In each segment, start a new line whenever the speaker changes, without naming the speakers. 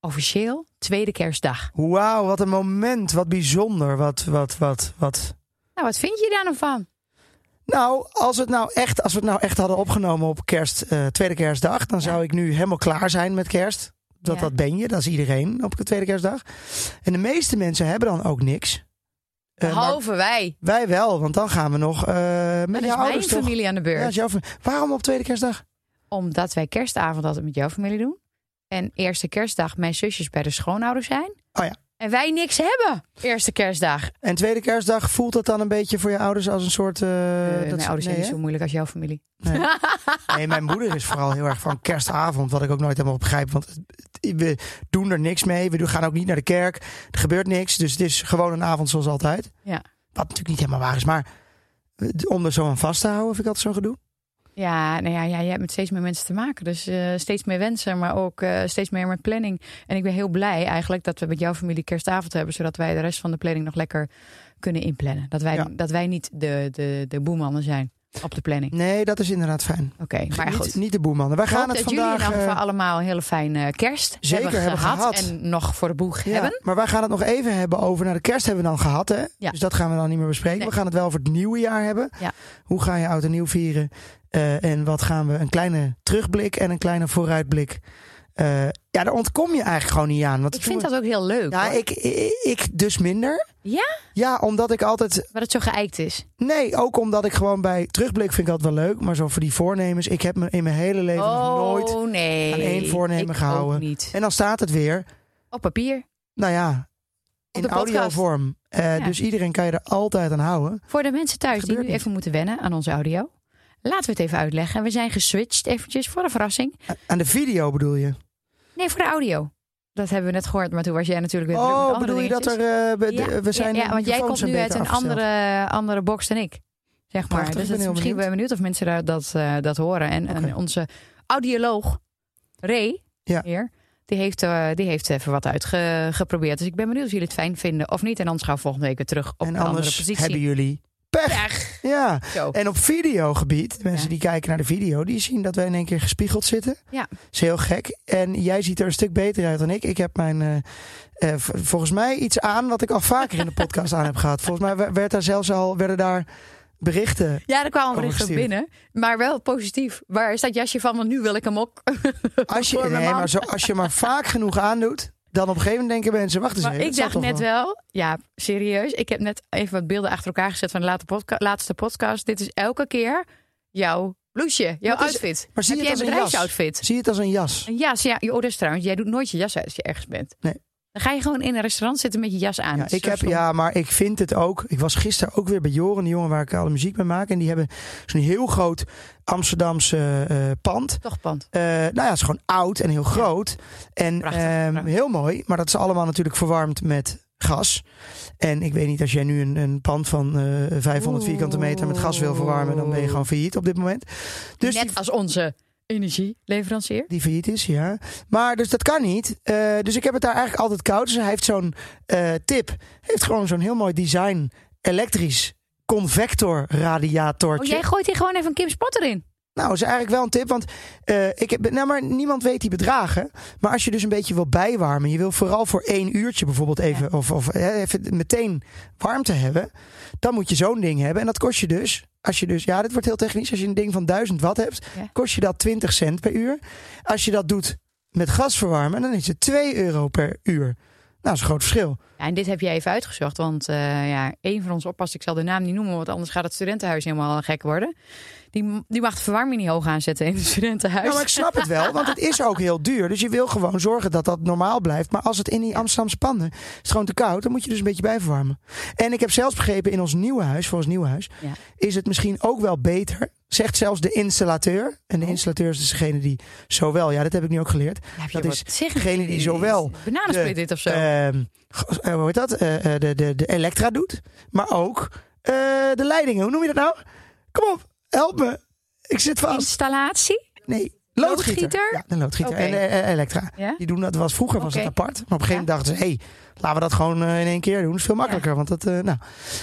officieel tweede kerstdag.
Wauw, wat een moment. Wat bijzonder. Wat, wat, wat, wat.
Nou, wat vind je daar nou van?
Nou, als, het nou echt, als we het nou echt hadden opgenomen op kerst, eh, tweede kerstdag, dan zou ik nu helemaal klaar zijn met kerst. Dat,
Ja.
dat ben je, dat is iedereen op de tweede kerstdag. En de meeste mensen hebben dan ook niks. Eh, maar
Behalve wij.
wij wel, want dan gaan we nog eh, met
Dan
jouw
is mijn
ouders toch?
familie aan de
Ja,
beurt.
dat is jouw familie. Waarom op tweede kerstdag?
Omdat wij kerstavond altijd met jouw familie doen. En eerste kerstdag mijn zusjes bij de schoonouders zijn.
Oh ja.
En wij niks hebben. Eerste kerstdag.
En tweede kerstdag voelt dat dan een beetje voor je ouders als een soort... eh,
Eh,
dat
mijn
ze-
ouders zijn
nee,
niet zo moeilijk als jouw familie.
hè? nee, mijn moeder is vooral heel erg van kerstavond, wat ik ook nooit helemaal begrijp. Want het- het- we doen er niks mee, we doen- gaan ook niet naar de kerk, er gebeurt niks. Dus het is gewoon een avond zoals altijd.
Ja.
Wat natuurlijk niet helemaal waar is, maar eh, om er zo aan vast te houden vind ik altijd zo'n gedoe.
Ja, nou ja, ja, je hebt met steeds meer mensen te maken. Dus eh, steeds meer wensen, maar ook eh, steeds meer met planning. En ik ben heel blij eigenlijk dat we met jouw familie kerstavond hebben. Zodat wij de rest van de planning nog lekker kunnen inplannen. Dat wij,
Ja.
dat wij niet de, de, de boemannen zijn op de planning.
Nee, dat is inderdaad fijn.
Oké, maar goed.
Niet, niet de boemannen. Wij
Ik hoop
gaan het
dat jullie in
vandaag...
ieder geval
eh,
allemaal een hele fijne kerst
zeker hebben gehad.
En nog voor de boeg
Ja,
hebben.
Maar wij gaan het nog even hebben over. Nou, de kerst hebben we dan gehad, hè?
Ja.
Dus dat gaan we dan niet meer bespreken.
Nee.
We gaan het wel over het nieuwe jaar hebben.
Ja.
Hoe ga je oud en nieuw vieren? Eh, en wat gaan we? Een kleine terugblik en een kleine vooruitblik. Eh, ja, daar ontkom je eigenlijk gewoon niet aan. Want
Ik vind dat ook heel leuk.
Ja,
hoor.
ik, ik, ik dus minder.
Ja?
Ja, omdat ik altijd.
Maar dat het zo geëikt is.
Nee, ook omdat ik gewoon bij terugblik vind ik dat wel leuk. Maar zo voor die voornemens. Ik heb me in mijn hele leven nog nooit.
oh nee.
aan één voornemen
Ik ook
gehouden.
niet.
En dan staat het weer.
Op papier.
Nou ja, in
de podcast.
audiovorm. Eh,
Ja.
Dus iedereen kan je er altijd aan houden.
Voor de mensen thuis die
Gebeurt
nu
niet.
even moeten wennen aan onze audio. Laten we het even uitleggen. We zijn geswitcht eventjes voor een verrassing.
A- Aan de video bedoel je?
Nee, voor de audio. Dat hebben we net gehoord, maar toen was jij natuurlijk weer druk met
oh,
andere
bedoel je dat
dingetjes.
er... eh, we, de- we zijn
ja,
de
want jij
microfoons
komt
zijn
nu uit
beter
een
afgesteld.
andere, andere box dan ik. Zeg maar.
Prachtig,
dus
ik
dat
ben heel benieuwd.
misschien ben ik benieuwd of mensen daar dat, eh, dat horen. En, en
Oké.
onze audioloog, Ray,
Ja.
hier, die, heeft, eh, die heeft even wat uitgeprobeerd. Dus ik ben benieuwd of jullie het fijn vinden of niet. En anders gaan we volgende week weer terug op
En
een andere
anders
positie.
hebben jullie pech.
Echt?
Ja.
Zo.
En op videogebied, de mensen
Ja.
die kijken naar de video... die zien dat wij in één keer gespiegeld zitten.
Ja.
Dat is heel gek. En jij ziet er een stuk beter uit dan ik. Ik heb mijn... eh, eh, v- volgens mij iets aan wat ik al vaker in de podcast aan heb gehad. Volgens mij we- werd daar zelfs al, werden daar berichten...
Ja, er kwamen berichten
Overgestuurd.
binnen. Maar wel positief. Waar is dat jasje van? Want nu wil ik hem ook.
Als je,
Voor mijn
nee,
man.
maar zo, als je maar vaak genoeg aandoet... dan op een gegeven moment denken mensen... wacht eens
Maar
even,
ik
het zal
dacht
toch
net
wel.
wel, ja, serieus. Ik heb net even wat beelden achter elkaar gezet van de late podca- laatste podcast. Dit is elke keer jouw blouseje, jouw
Maar het is-
outfit.
maar zie je
heb
het
jij
als een jas?
bedrijfsoutfit?
Zie je het als een jas?
Een jas, ja. Oh, dat is trouwens, jij doet nooit je jas uit als je ergens bent.
Nee.
Dan ga je gewoon in een restaurant zitten met je jas aan.
Ja,
Dat is
ik
zo
heb,
stom.
ja, maar ik vind het ook. Ik was gisteren ook weer bij Joren, die jongen waar ik alle muziek mee maak. En die hebben zo'n heel groot Amsterdamse eh, pand.
Toch pand.
Eh, nou ja, het is gewoon oud en heel groot. En
Prachtig,
ehm,
prachtig.
heel mooi. Maar dat is allemaal natuurlijk verwarmd met gas. En ik weet niet, als jij nu een, een pand van eh, 500 vierkante meter met gas wil verwarmen, dan ben je gewoon failliet op dit moment. Dus
net
die-
als onze energieleverancier.
die failliet is, ja. Maar dus dat kan niet. Eh, dus ik heb het daar eigenlijk altijd koud. Dus hij heeft zo'n eh, tip. Heeft gewoon zo'n heel mooi design elektrisch convector
Oh,
radiatortje.
jij gooit hier gewoon even Kim Spotter in.
Nou, is eigenlijk wel een tip. Want eh, ik heb, nou, maar niemand weet die bedragen. Maar als je dus een beetje wil bijwarmen. Je wil vooral voor één uurtje bijvoorbeeld even. Of, of eh, even meteen warmte hebben. Dan moet je zo'n ding hebben. En dat kost je dus. Als je dus, ja, dit wordt heel technisch. Als je een ding van 1000 watt hebt,
Ja.
kost je dat 20 cent per uur. Als je dat doet met gas verwarmen, dan is het 2 euro per uur. Nou, dat is een groot verschil.
Ja, en dit heb jij even uitgezocht, want eh ja, een van ons oppassers, ik zal de naam niet noemen, want anders gaat het studentenhuis helemaal gek worden. Die, die mag de verwarming niet hoog aanzetten in het studentenhuis.
Nou, maar ik snap het wel, want het is ook heel duur. Dus je wil gewoon zorgen dat dat normaal blijft. Maar als het in die Amsterdamse panden is het gewoon te koud, dan moet je dus een beetje bijverwarmen. En ik heb zelfs begrepen in ons nieuwe huis, voor ons nieuwe huis,
Ja.
is het misschien ook wel beter. Zegt zelfs de installateur. En de
Oh.
installateur is dus degene die zowel, ja, dat heb ik nu ook geleerd.
Heb
Dat
je
is
wat zeggen?
Degene die zowel
Bananensplit dit of zo.
ehm, go- eh, hoe heet dat? Eh, eh, de, de, de elektra doet. Maar ook eh, de leidingen. Hoe noem je dat nou? Kom op, help me. Ik zit vast.
Installatie?
Nee, loodgieter.
Loodgieter?
Ja, de loodgieter
Oké.
en eh, eh, elektra.
Ja?
Die doen dat was vroeger was het
Oké.
apart. Maar op een gegeven moment dachten ze, hé, hey, laten we dat gewoon eh, in één keer doen. Dat is veel makkelijker. Want dat, eh, nou.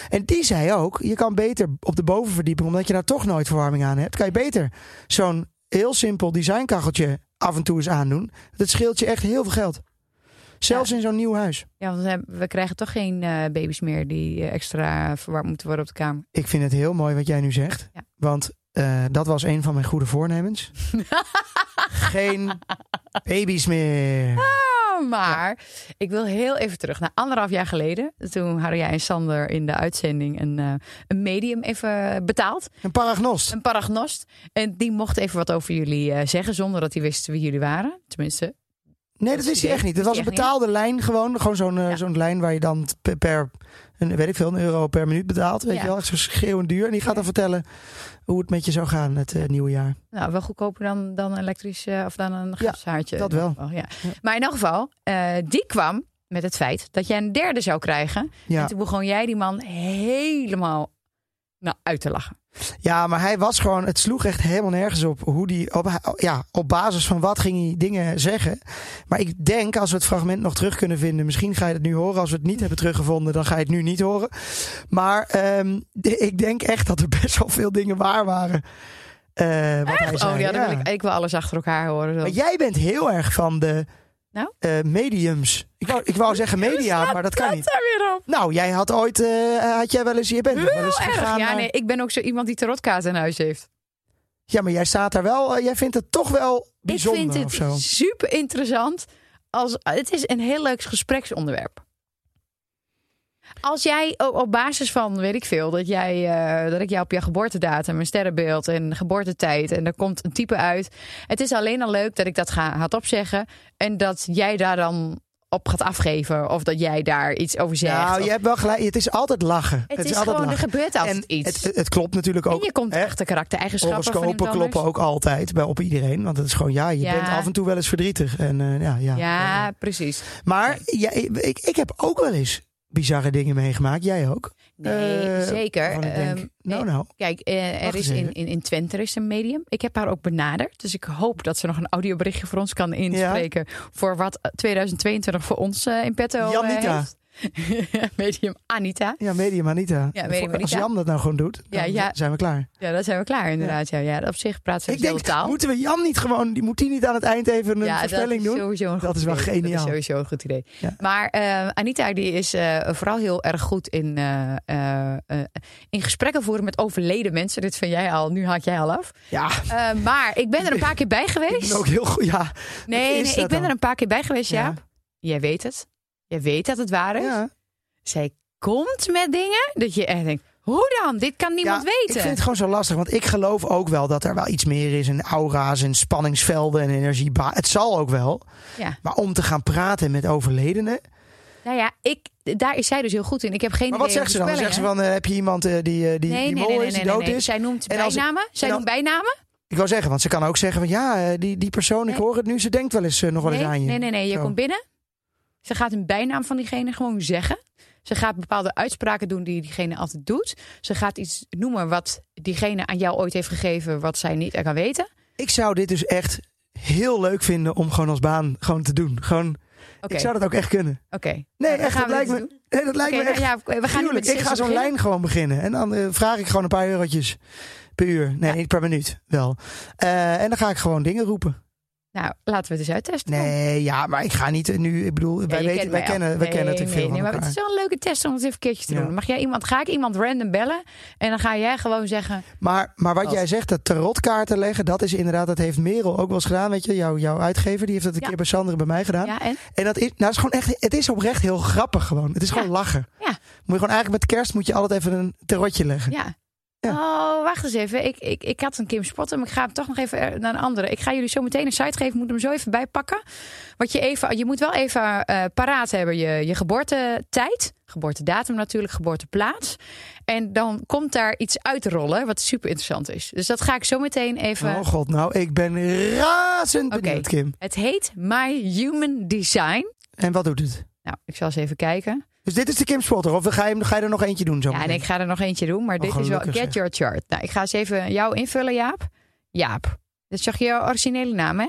En die zei ook, je kan beter op de bovenverdieping, omdat je daar toch nooit verwarming aan hebt, kan je beter zo'n heel simpel designkacheltje af en toe eens aandoen. Dat scheelt je echt heel veel geld. Zelfs in zo'n nieuw huis.
Ja, want we, hebben- we krijgen toch geen eh, baby's meer die eh, extra verwarmd moeten worden op de kamer.
Ik vind het heel mooi wat jij nu zegt.
Ja.
Want eh, dat was een van mijn goede voornemens. Geen baby's meer.
Oh, maar ik wil heel even terug naar anderhalf jaar geleden. Toen hadden jij en Sander in de uitzending een, eh, een medium even betaald.
Een paragnost.
Een paragnost. En die mocht even wat over jullie eh, zeggen zonder dat hij wist wie jullie waren. Tenminste,
Nee,
Dat
dat
is
wist hij
idee.
echt niet.
Wist
Het was
hij
een
echt
betaalde lijn gewoon. Gewoon zo'n eh,
Ja.
zo'n lijn waar je dan p- per, een, weet ik veel, een euro per minuut betaalt. Weet
Ja.
je wel, echt zo schreeuwend duur. En die gaat dan vertellen hoe het met je zou gaan het eh, nieuwe jaar.
nou, wel goedkoper dan, dan een elektrisch eh, of dan een gashaartje.
dat
In elk
wel.
geval, ja. Maar in elk geval, eh, die kwam met het feit dat jij een derde zou krijgen. En
Ja.
toen begon jij die man helemaal nou, uit te lachen.
ja, maar hij was gewoon, het sloeg echt helemaal nergens op hoe die, op, ja, op basis van wat ging hij dingen zeggen. Maar ik denk, als we het fragment nog terug kunnen vinden, misschien ga je het nu horen. Als we het niet hebben teruggevonden, dan ga je het nu niet horen. Maar ehm, ik denk echt dat er best wel veel dingen waar waren. Eh, wat hij zei.
Oh ja, dan
Ja.
wil ik, ik wil alles achter elkaar horen.
Maar jij bent heel erg van de
Nou?
eh, mediums. Ik wou, ik wou zeggen media, maar dat kan niet.
daar weer op.
Nou, jij had ooit, eh, had jij wel eens, je bent nog wel eens gegaan.
ja,
naar-
nee, ik ben ook zo iemand die tarotkaarten in huis heeft.
ja, maar jij staat daar wel, eh, jij vindt het toch wel bijzonder
ik vind
of
het
zo.
super interessant. Als, het is een heel leuk gespreksonderwerp. Als jij o- op basis van, weet ik veel, dat, jij, eh, dat ik jou op je geboortedatum, een sterrenbeeld en geboortetijd en er komt een type uit. Het is alleen al leuk dat ik dat ga, had opzeggen en dat jij daar dan op gaat afgeven of dat jij daar iets over zegt.
Nou,
of-
je hebt wel gelijk, het is altijd lachen.
het, is,
altijd
gewoon, er
lachen.
gebeurt altijd
en
iets.
Het, het klopt natuurlijk ook.
en je komt
hè,
achter karaktereigenschappen van iemand
Horoscopen
anders.
kloppen ook altijd bij op iedereen. Want het is gewoon, ja, je
Ja.
bent af en toe wel eens verdrietig. En, eh, ja, ja.
Ja, precies.
Maar jij- ik, ik heb ook wel eens bizarre dingen meegemaakt. Jij ook?
Nee,
Eh,
zeker.
waarvan ik denk,
Ehm,
nou,
eh,
nou.
Kijk, eh, er
Wacht
is
eens
in,
even.
in, in Twente er is een medium. Ik heb haar ook benaderd. Dus ik hoop dat ze nog een audioberichtje voor ons kan inspreken. Voor wat 2022 voor ons eh, in petto eh,
Janita.
heeft. medium Anita.
Ja, Medium Anita.
Ja, Medium
Als
Anita.
Jan dat nou gewoon doet,
Ja,
dan
ja.
zijn we klaar.
Ja, dat zijn we klaar inderdaad. Ja, ja op zich praat ze
ik
dezelfde
denk,
taal.
moeten we Jan niet gewoon, die moet die niet aan het eind even een
ja,
voorspelling
dat is
doen?
Sowieso een
Dat
goed
is wel
idee. Dat
geniaal.
is sowieso een goed idee.
Ja.
Maar eh, Anita die is eh, vooral heel erg goed in, eh, eh, eh, in gesprekken voeren met overleden mensen. Dit vind jij al, nu haak jij al af.
Ja,
Eh, maar ik ben er een paar keer bij
ik
geweest.
ben ook heel goed. Ja,
nee,
Wat
nee
is
ik
dat
ben
dan?
er een paar keer bij geweest,
Ja.
Jaap. Jij weet het. Jij weet dat het waar is.
ja.
Zij komt met dingen dat je echt denkt, hoe dan? Dit kan niemand
Ja,
weten.
Ik vind het gewoon zo lastig, want ik geloof ook wel dat er wel iets meer is. En aura's en spanningsvelden en energieba. Het zal ook wel.
Ja.
Maar om te gaan praten met overledenen.
Nou ja, ik, daar is zij dus heel goed in. Ik heb geen
Maar wat
idee
zegt ze dan?
over
Zegt ze van,
voorspellingen.
eh, heb je iemand eh, die, eh, die,
Nee,
die
nee,
mol
nee, nee,
is,
nee,
die
nee,
dood
nee.
is?
Zij noemt
En als ik-
bijnamen. Zij
en
noemt bijnamen.
Ik wou zeggen, want ze kan ook zeggen van, ja, eh, die, die persoon, ik
Nee.
hoor het nu, ze denkt wel eens eh, nog wel eens
nee,
aan je.
Nee, nee, nee. Je
Zo.
komt binnen. Ze gaat een bijnaam van diegene gewoon zeggen. Ze gaat bepaalde uitspraken doen die diegene altijd doet. Ze gaat iets noemen wat diegene aan jou ooit heeft gegeven, wat zij niet kan weten.
Ik zou dit dus echt heel leuk vinden om gewoon als baan gewoon te doen. Gewoon,
Oké,
Ik
oké.
zou dat ook echt kunnen. Nee,
Nou, dan
echt,
gaan
dat
we dit
lijkt me,
doen.
nee, dat lijkt
Oké,
me echt
nou ja, we gaan nu
gruwelijk.
met
Ik
zes
ga zo'n
beginnen.
lijn gewoon beginnen. En dan eh, vraag ik gewoon een paar eurotjes per uur. Nee,
Ja.
niet per minuut wel. Eh, en dan ga ik gewoon dingen roepen.
Nou, laten we het eens uittesten. dan.
Nee, ja, maar ik ga niet eh, nu... Ik bedoel,
Ja,
wij,
je
weten,
kent
wij
mij al.
kennen, wij
Nee,
kennen natuurlijk
nee,
veel
nee,
van
maar het
elkaar.
is wel een leuke test om het even een keertje te
Ja.
doen. Mag jij iemand, ga ik iemand random bellen en dan ga jij gewoon zeggen...
Maar, maar wat
Als-
jij zegt, dat tarotkaarten leggen... dat is inderdaad, dat heeft Merel ook wel eens gedaan. Weet je, jouw jouw uitgever, die heeft dat een
Ja.
keer bij Sander en bij mij gedaan.
Ja, en?
En dat is, nou, het is gewoon echt, het is oprecht heel grappig gewoon. Het is
Ja.
gewoon lachen.
Ja.
Moet je gewoon eigenlijk met kerst moet je altijd even een tarotje leggen.
Ja.
Ja.
Oh, wacht eens even. Ik, ik, ik had een Kim Spotten, maar ik ga hem toch nog even eh, naar een andere. Ik ga jullie zo meteen een site geven. Moet hem zo even bijpakken. Wat je, even, je moet wel even eh, paraat hebben. Je, je geboortetijd, geboortedatum natuurlijk, geboorteplaats. En dan komt daar iets uitrollen wat super interessant is. Dus dat ga ik zo meteen even...
Oh god, nou, ik ben razend
Oké.
benieuwd, Kim.
Het heet My Human Design.
En wat doet het?
Nou, ik zal eens even kijken.
Dus dit is de Kim Spotter, of ga je, ga je er nog eentje doen zo
Ja, en
meteen?
ik ga er nog eentje doen, maar dit is wel
Oh, gelukkig, zeg.
Get Your Chart. Nou, ik ga eens even jou invullen, Jaap. Jaap, dat zag je jouw originele naam, hè?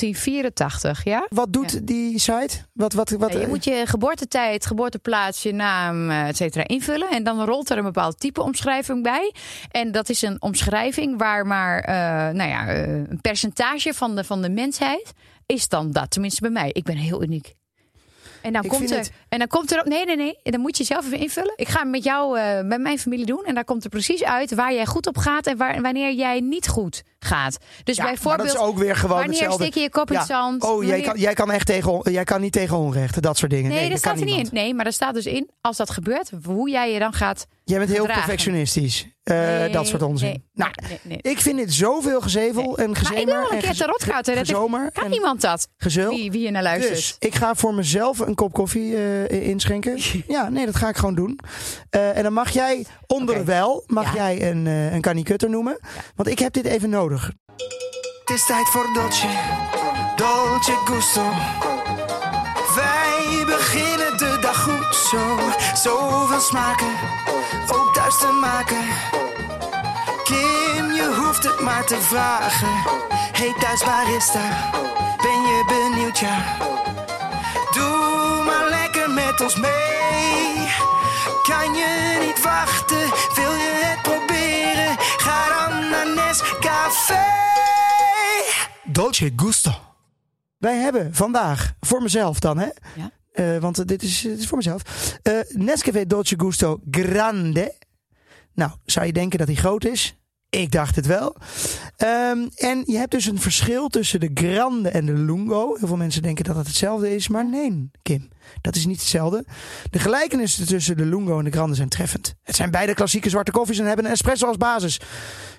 1984, ja?
Wat doet die site? Wat, wat, wat, eh,
Ja, je moet je geboortetijd, geboorteplaats, je naam, eh, et cetera, invullen. En dan rolt er een bepaald type omschrijving bij. En dat is een omschrijving waar maar eh, nou ja, eh, een percentage van de, van de mensheid is dan dat. Tenminste bij mij. Ik ben heel uniek. En dan,
Ik
komt
vind
er,
het-
en dan komt er op. Nee, nee, nee. Dan moet je zelf even invullen. Ik ga hem met jou, eh, met mijn familie doen. En daar komt er precies uit waar jij goed op gaat en waar, wanneer jij niet goed gaat. Dus
Ja, maar
bijvoorbeeld.
dat is ook weer gewoon
wanneer
hetzelfde.
steek je je kop in het zand?
Oh, jij
Wanneer-
kan, jij kan echt tegen, on- jij kan niet tegen onrecht, dat soort dingen.
Nee, dat
kan
staat er niet in.
niemand.
Nee, maar daar staat dus in, als dat gebeurt, hoe jij je dan gaat...
Jij bent heel
Gedragen.
perfectionistisch. Eh,
Nee,
dat soort onzin.
nee,
nou,
nee, nee, nee.
ik vind dit zoveel gezevel en
Maar
gezemer.
ik wil wel
en
een keer
gez-
tarot gaan.
ge- gezomer
Kan
en
iemand dat?
Gezul.
Wie, wie je naar luistert.
Dus ik ga voor mezelf een kop koffie eh, inschenken. ja, nee, dat ga ik gewoon doen. Eh, en dan mag jij onder
Oké.
de wel, mag
Ja.
jij een, eh een kanikutter noemen. Want ik heb dit even nodig.
Het is tijd voor Dolce, Dolce Gusto. Wij beginnen de dag goed zo. Zoveel smaken, ook thuis te maken. Kim, je hoeft het maar te vragen. Hey thuis barista, ben je benieuwd ja? Doe maar lekker met ons mee. Kan je niet wachten? Wil je het proberen? Ga dan naar Nescafé. Dolce Gusto.
Wij hebben vandaag, voor mezelf dan hè.
Ja.
Eh, want eh, dit, is, dit is voor mezelf. Eh Nescafé Dolce Gusto Grande. Nou, zou je denken dat hij groot is? Ik dacht het wel. Ehm, en je hebt dus een verschil tussen de Grande en de Lungo. Heel veel mensen denken dat het hetzelfde is, maar nee, Kim. Dat is niet hetzelfde. De gelijkenissen tussen de Lungo en de Grande zijn treffend. Het zijn beide klassieke zwarte koffies en hebben een espresso als basis.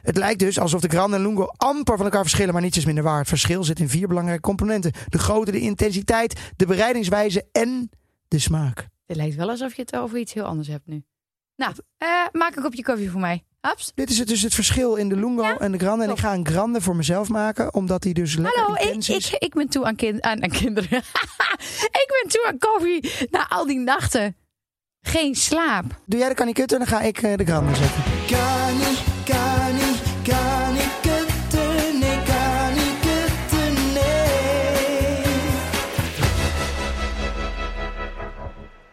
Het lijkt dus alsof de Grande en Lungo amper van elkaar verschillen, maar niets is minder waar. Het verschil zit in vier belangrijke componenten: de grootte, de intensiteit, de bereidingswijze en de smaak.
Het lijkt wel alsof je het over iets heel anders hebt nu. Nou, eh, maak een kopje koffie voor mij. Haps.
Dit is het, dus het verschil in de Lungo en de Grande. En ik ga een Grande voor mezelf maken, omdat die dus lekker
Hallo, ik,
intens
ik,
is.
ik ben toe aan, kind, aan, aan kinderen. ik ben toe aan koffie na al die nachten. Geen slaap.
Doe jij de kanikutter en dan ga ik eh, de Grande zetten.
Kani, kani, kani kutten, nee, kani kutten, nee.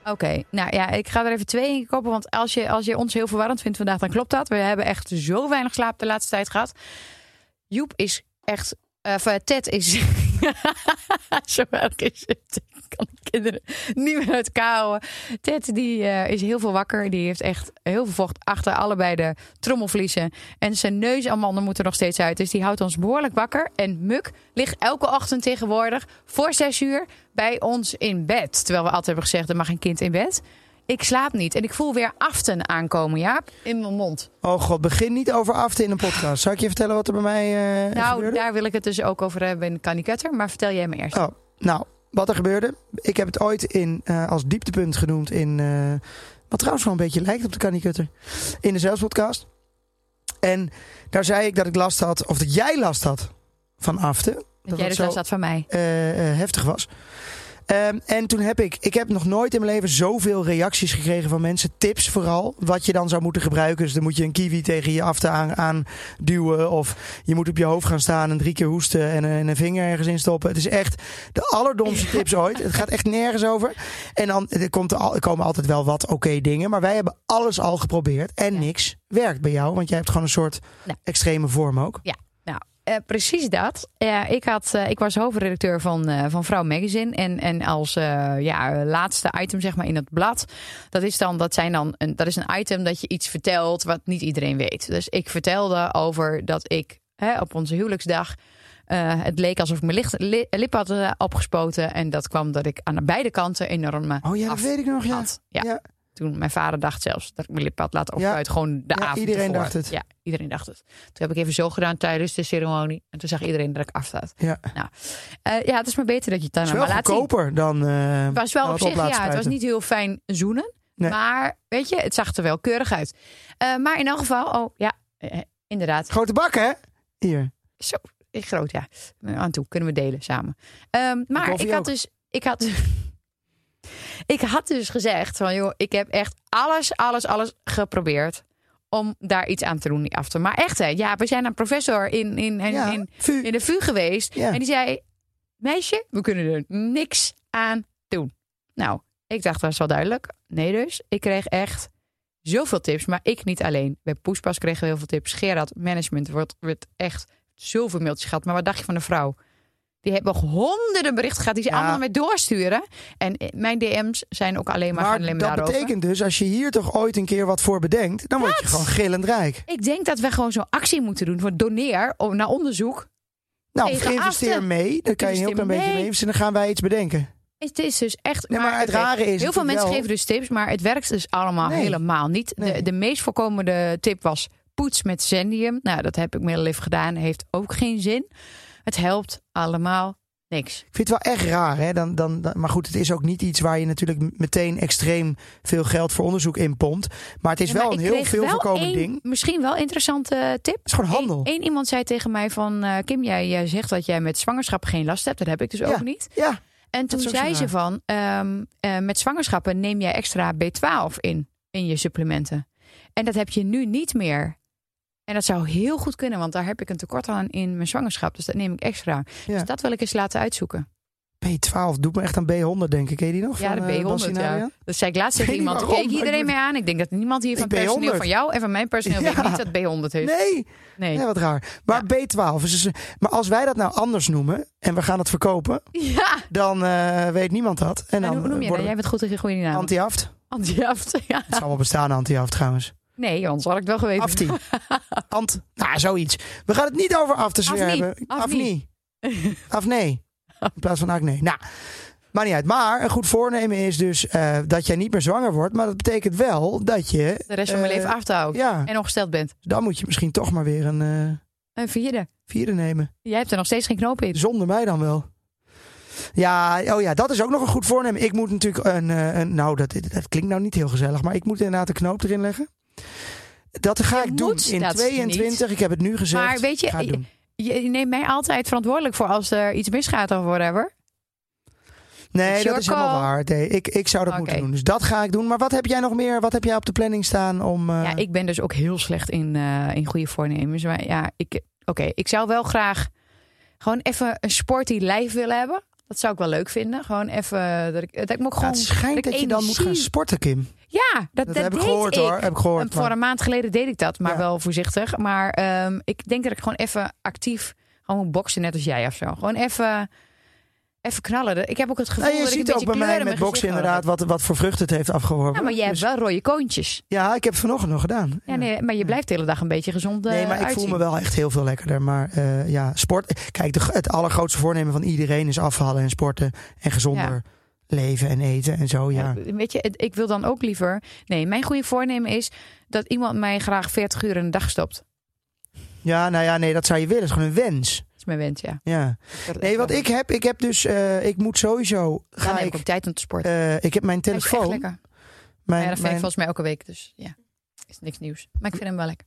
Oké, nou ja, ik ga er even twee in kopen. Want als je, als je ons heel verwarrend vindt vandaag, dan klopt dat. We hebben echt zo weinig slaap de laatste tijd gehad. Joep is echt. eh, Of eh, Ted is. zo erg is het. Ik kan de kinderen niet meer uit elkaar houden. Ted die, eh, is heel veel wakker. Die heeft echt heel veel vocht achter allebei de trommelvliezen. En zijn neusamanden moeten nog steeds uit. Dus die houdt ons behoorlijk wakker. En Muk ligt elke ochtend tegenwoordig voor zes uur bij ons in bed. Terwijl we altijd hebben gezegd, er mag een kind in bed. Ik slaap niet. En ik voel weer aften aankomen, Jaap. In mijn mond.
Oh god, begin niet over afte in een podcast. Zou ik je vertellen wat er bij mij eh
Nou,
gebeurde?
daar wil ik het dus ook over hebben in de Kanikutter. Maar vertel jij me eerst.
Oh, nou, wat er gebeurde. Ik heb het ooit in, eh, als dieptepunt genoemd in... eh, wat trouwens wel een beetje lijkt op de Kanikutter. In de Zelfspodcast. En daar zei ik dat ik last had, of dat jij last had van afte. Dat
dat jij
het
dus
zo,
last had van mij.
eh, eh, heftig was. Ehm, en toen heb ik, ik heb nog nooit in mijn leven zoveel reacties gekregen van mensen. Tips vooral, wat je dan zou moeten gebruiken. Dus dan moet je een kiwi tegen je afte aan, aan duwen. Of je moet op je hoofd gaan staan en drie keer hoesten en, een- en een vinger ergens in stoppen. Het is echt de allerdomste tips ooit. Het gaat echt nergens over. En dan er komt er al, er komen altijd wel wat oké dingen. Maar wij hebben alles al geprobeerd en
Ja.
niks werkt bij jou. Want jij hebt gewoon een soort
Nou.
extreme vorm ook.
Ja, nou, eh, precies dat. Eh, ik, had, eh, ik was hoofdredacteur van, eh, van Vrouw Magazine. En, en als eh, ja, laatste item zeg maar, in het blad, dat is dan, dat zijn dan een, dat is een item dat je iets vertelt wat niet iedereen weet. Dus ik vertelde over dat ik hè, op onze huwelijksdag. eh, het leek alsof ik mijn licht, li- lip had eh, opgespoten. En dat kwam dat ik aan beide kanten enorme
Oh ja, dat
af-
weet ik nog. Ja.
had. Ja.
Ja.
Toen mijn vader dacht zelfs dat ik mijn lippad laat overuit. Gewoon de
Ja,
avond
iedereen
ervoor.
dacht het.
Ja, iedereen dacht het. Toen heb ik even zo gedaan tijdens de ceremonie. En toen zag iedereen dat ik afstaat.
Ja.
Nou, eh, ja, het is maar beter dat je het dan
Het is
maar
wel
laat zien.
goedkoper dan. eh,
Het was wel
dan
op
het
zich, ja, het was
opblaadspuiten.
niet heel fijn zoenen.
Nee.
Maar weet je, het zag er wel keurig uit. Eh, maar in elk geval, oh ja, eh, inderdaad.
Grote bak, hè? Hier.
Zo, eh, groot ja. Aan toe, kunnen we delen samen. Ehm, maar
koffie
ik had
ook.
dus... Ik had, ik had dus gezegd van, joh, ik heb echt alles, alles, alles geprobeerd... om daar iets aan te doen, die after. Maar echt, hè, ja, we zijn een professor in, in, in,
ja.
in,
Vu.
in de VU geweest.
Ja.
En die zei, meisje, we kunnen er niks aan doen. Nou, ik dacht, dat is wel duidelijk. Nee dus, ik kreeg echt zoveel tips, maar ik niet alleen. Bij Poespas kregen we heel veel tips. Gerard, management, wordt, wordt echt zoveel mailtjes gehad. Maar wat dacht je van de vrouw? Die hebben nog honderden berichten gehad die ze
Ja.
allemaal met doorsturen. En eh, mijn DM's zijn ook alleen maar, gaan
Maar
alleen
dat
maar daarover.
betekent dus, als je hier toch ooit een keer wat voor bedenkt, dan word je gewoon gillend rijk.
Ik denk dat we gewoon zo'n actie moeten doen. Voor doneer om- naar onderzoek.
Nou,
Tegen
investeer
aften.
mee. Dan kan je een heel
Investeer
klein beetje
mee.
mee investeren. Dan gaan wij iets bedenken.
Het is dus echt.
Nee, maar het rare is
Heel veel
natuurlijk
mensen
wel-
geven dus tips, maar het werkt dus allemaal
Nee.
helemaal niet. De,
Nee.
de meest voorkomende tip was poets met zendium. Nou, dat heb ik middellief gedaan. Heeft ook geen zin. Het helpt allemaal niks.
Ik vind het wel echt raar. Hè? Dan, dan, dan- maar goed, het is ook niet iets waar je natuurlijk m- meteen extreem veel geld voor onderzoek in pompt. Maar het is
Ja, maar
wel een
ik
heel
kreeg
veel
wel
voorkomend
één
ding. Het
Misschien wel interessante tip.
is gewoon handel.
Eén iemand zei tegen mij van... eh, Kim, jij, jij zegt dat jij met zwangerschap geen last hebt. Dat heb ik dus ook niet.
Ja,
En toen
is ook zo
zei ze
raar.
van, ehm, eh, met zwangerschappen neem jij extra B12 in, in je supplementen. En dat heb je nu niet meer. En dat zou heel goed kunnen, want daar heb ik een tekort aan in mijn zwangerschap. Dus dat neem ik extra.
Ja.
Dus dat wil ik eens laten uitzoeken.
B12 doet me echt aan B100, denk ik. Ken je die nog?
Ja,
Van, eh, Bas
de B100. Ja.
Sinarian?
Dat Dus zei ik laatst tegen
Ik weet niet
iemand. Toen
waarom,
keek
maar
iedereen
ik
mee aan. Ik denk dat niemand hier van
Die
personeel
B100.
van jou en van mijn personeel
Ja.
weet niet dat B100 heeft.
Nee,
Nee.
ja, wat raar. Maar B12 is dus, een- Maar als wij dat nou anders noemen en we gaan het verkopen,
Ja.
dan eh, weet niemand dat. En
En
dan
hoe noem je dat?
worden
Jij
we
bent goed tegen goede naam.
anti-aft.
Anti-aft. Ja.
Het zal wel bestaan, anti-aft trouwens.
Nee, anders had ik het wel geweten.
Afti. Ant. Nou, zoiets. We gaan het niet over af te
Afnie.
hebben.
Afnie.
Af nee. In plaats van acne. Nou, maar niet uit. Maar een goed voornemen is dus eh, dat jij niet meer zwanger wordt. Maar dat betekent wel dat je...
De rest van mijn
eh,
leven af te houden.
Ja,
En ongesteld bent.
dan moet je misschien toch maar weer een eh,
Een vierde.
vierde nemen.
Jij hebt er nog steeds geen knoop in.
Zonder mij dan wel. Ja, oh ja, dat is ook nog een goed voornemen. Ik moet natuurlijk een... eh, een nou, dat, dat klinkt nou niet heel gezellig. Maar ik moet inderdaad een knoop erin leggen. Dat ga
Je
ik doen
moet
in
dat
22. Ik heb het nu gezegd.
Maar weet je,
Ga het doen.
Je neemt mij altijd verantwoordelijk voor als er iets misgaat of whatever. It's
Nee, dat
your
is helemaal
call.
waar. Nee, ik, ik zou dat
Oké.
moeten doen. Dus dat ga ik doen. Maar wat heb jij nog meer? Wat heb jij op de planning staan om. eh,
Ja, ik ben dus ook heel slecht in, eh, in goede voornemens. Maar ja, ik, oké, ik zou wel graag gewoon even een sporty lijf willen hebben. Dat zou ik wel leuk vinden. Gewoon even dat ik, dat ik me ook
Ja,
gewoon.
het schijnt dat je dan moet gaan
energie-
sporten, Kim.
Ja,
Dat,
dat, dat
heb ik
deed
gehoord
ik.
hoor. Heb ik gehoord.
En voor
maar-
een maand geleden deed ik dat, maar
Ja.
wel voorzichtig. Maar ehm, ik denk dat ik gewoon even actief gewoon moet boksen, net als jij of zo. Gewoon even, even knallen. Ik heb ook het gevoel
Nou, je
dat ik
ziet
een
ook bij
beetje
mij
kleur
met
in mijn gezicht
boksen
nodig
inderdaad wat, wat voor vrucht het heeft afgeworpen.
Ja, maar jij hebt
Dus-
wel rode koontjes.
ja, ik heb het vanochtend nog gedaan.
Ja, nee, maar je blijft de hele dag een beetje gezond eh,
Nee, maar ik
uitzien.
voel me wel echt heel veel lekkerder. Maar eh, ja, sport. Kijk, de, het allergrootste voornemen van iedereen is afvallen en sporten. En gezonder leven en eten en zo. oh Ja.
Ja, dus- Eh, Weet je, het- ik wil dan ook liever... Nee, mijn goede voornemen is dat iemand mij graag 40 uur in de dag stopt.
ja, nou ja, nee, dat zou je willen. Het is gewoon een wens.
Dat is mijn wens, ja.
Ja.
Dat-
Nee, wat
dat-
ik heb, ik heb dus, eh, ik moet sowieso.
Dan
Ga
heb
ik,
ik ook tijd om te sporten.
eh, ik heb mijn
Hij is echt
telefoon.
lekker.
Mijn,
Ja, dat vind ik
mijn-
volgens mij elke week. Dus ja, is niks nieuws. Maar ik vind hem wel lekker.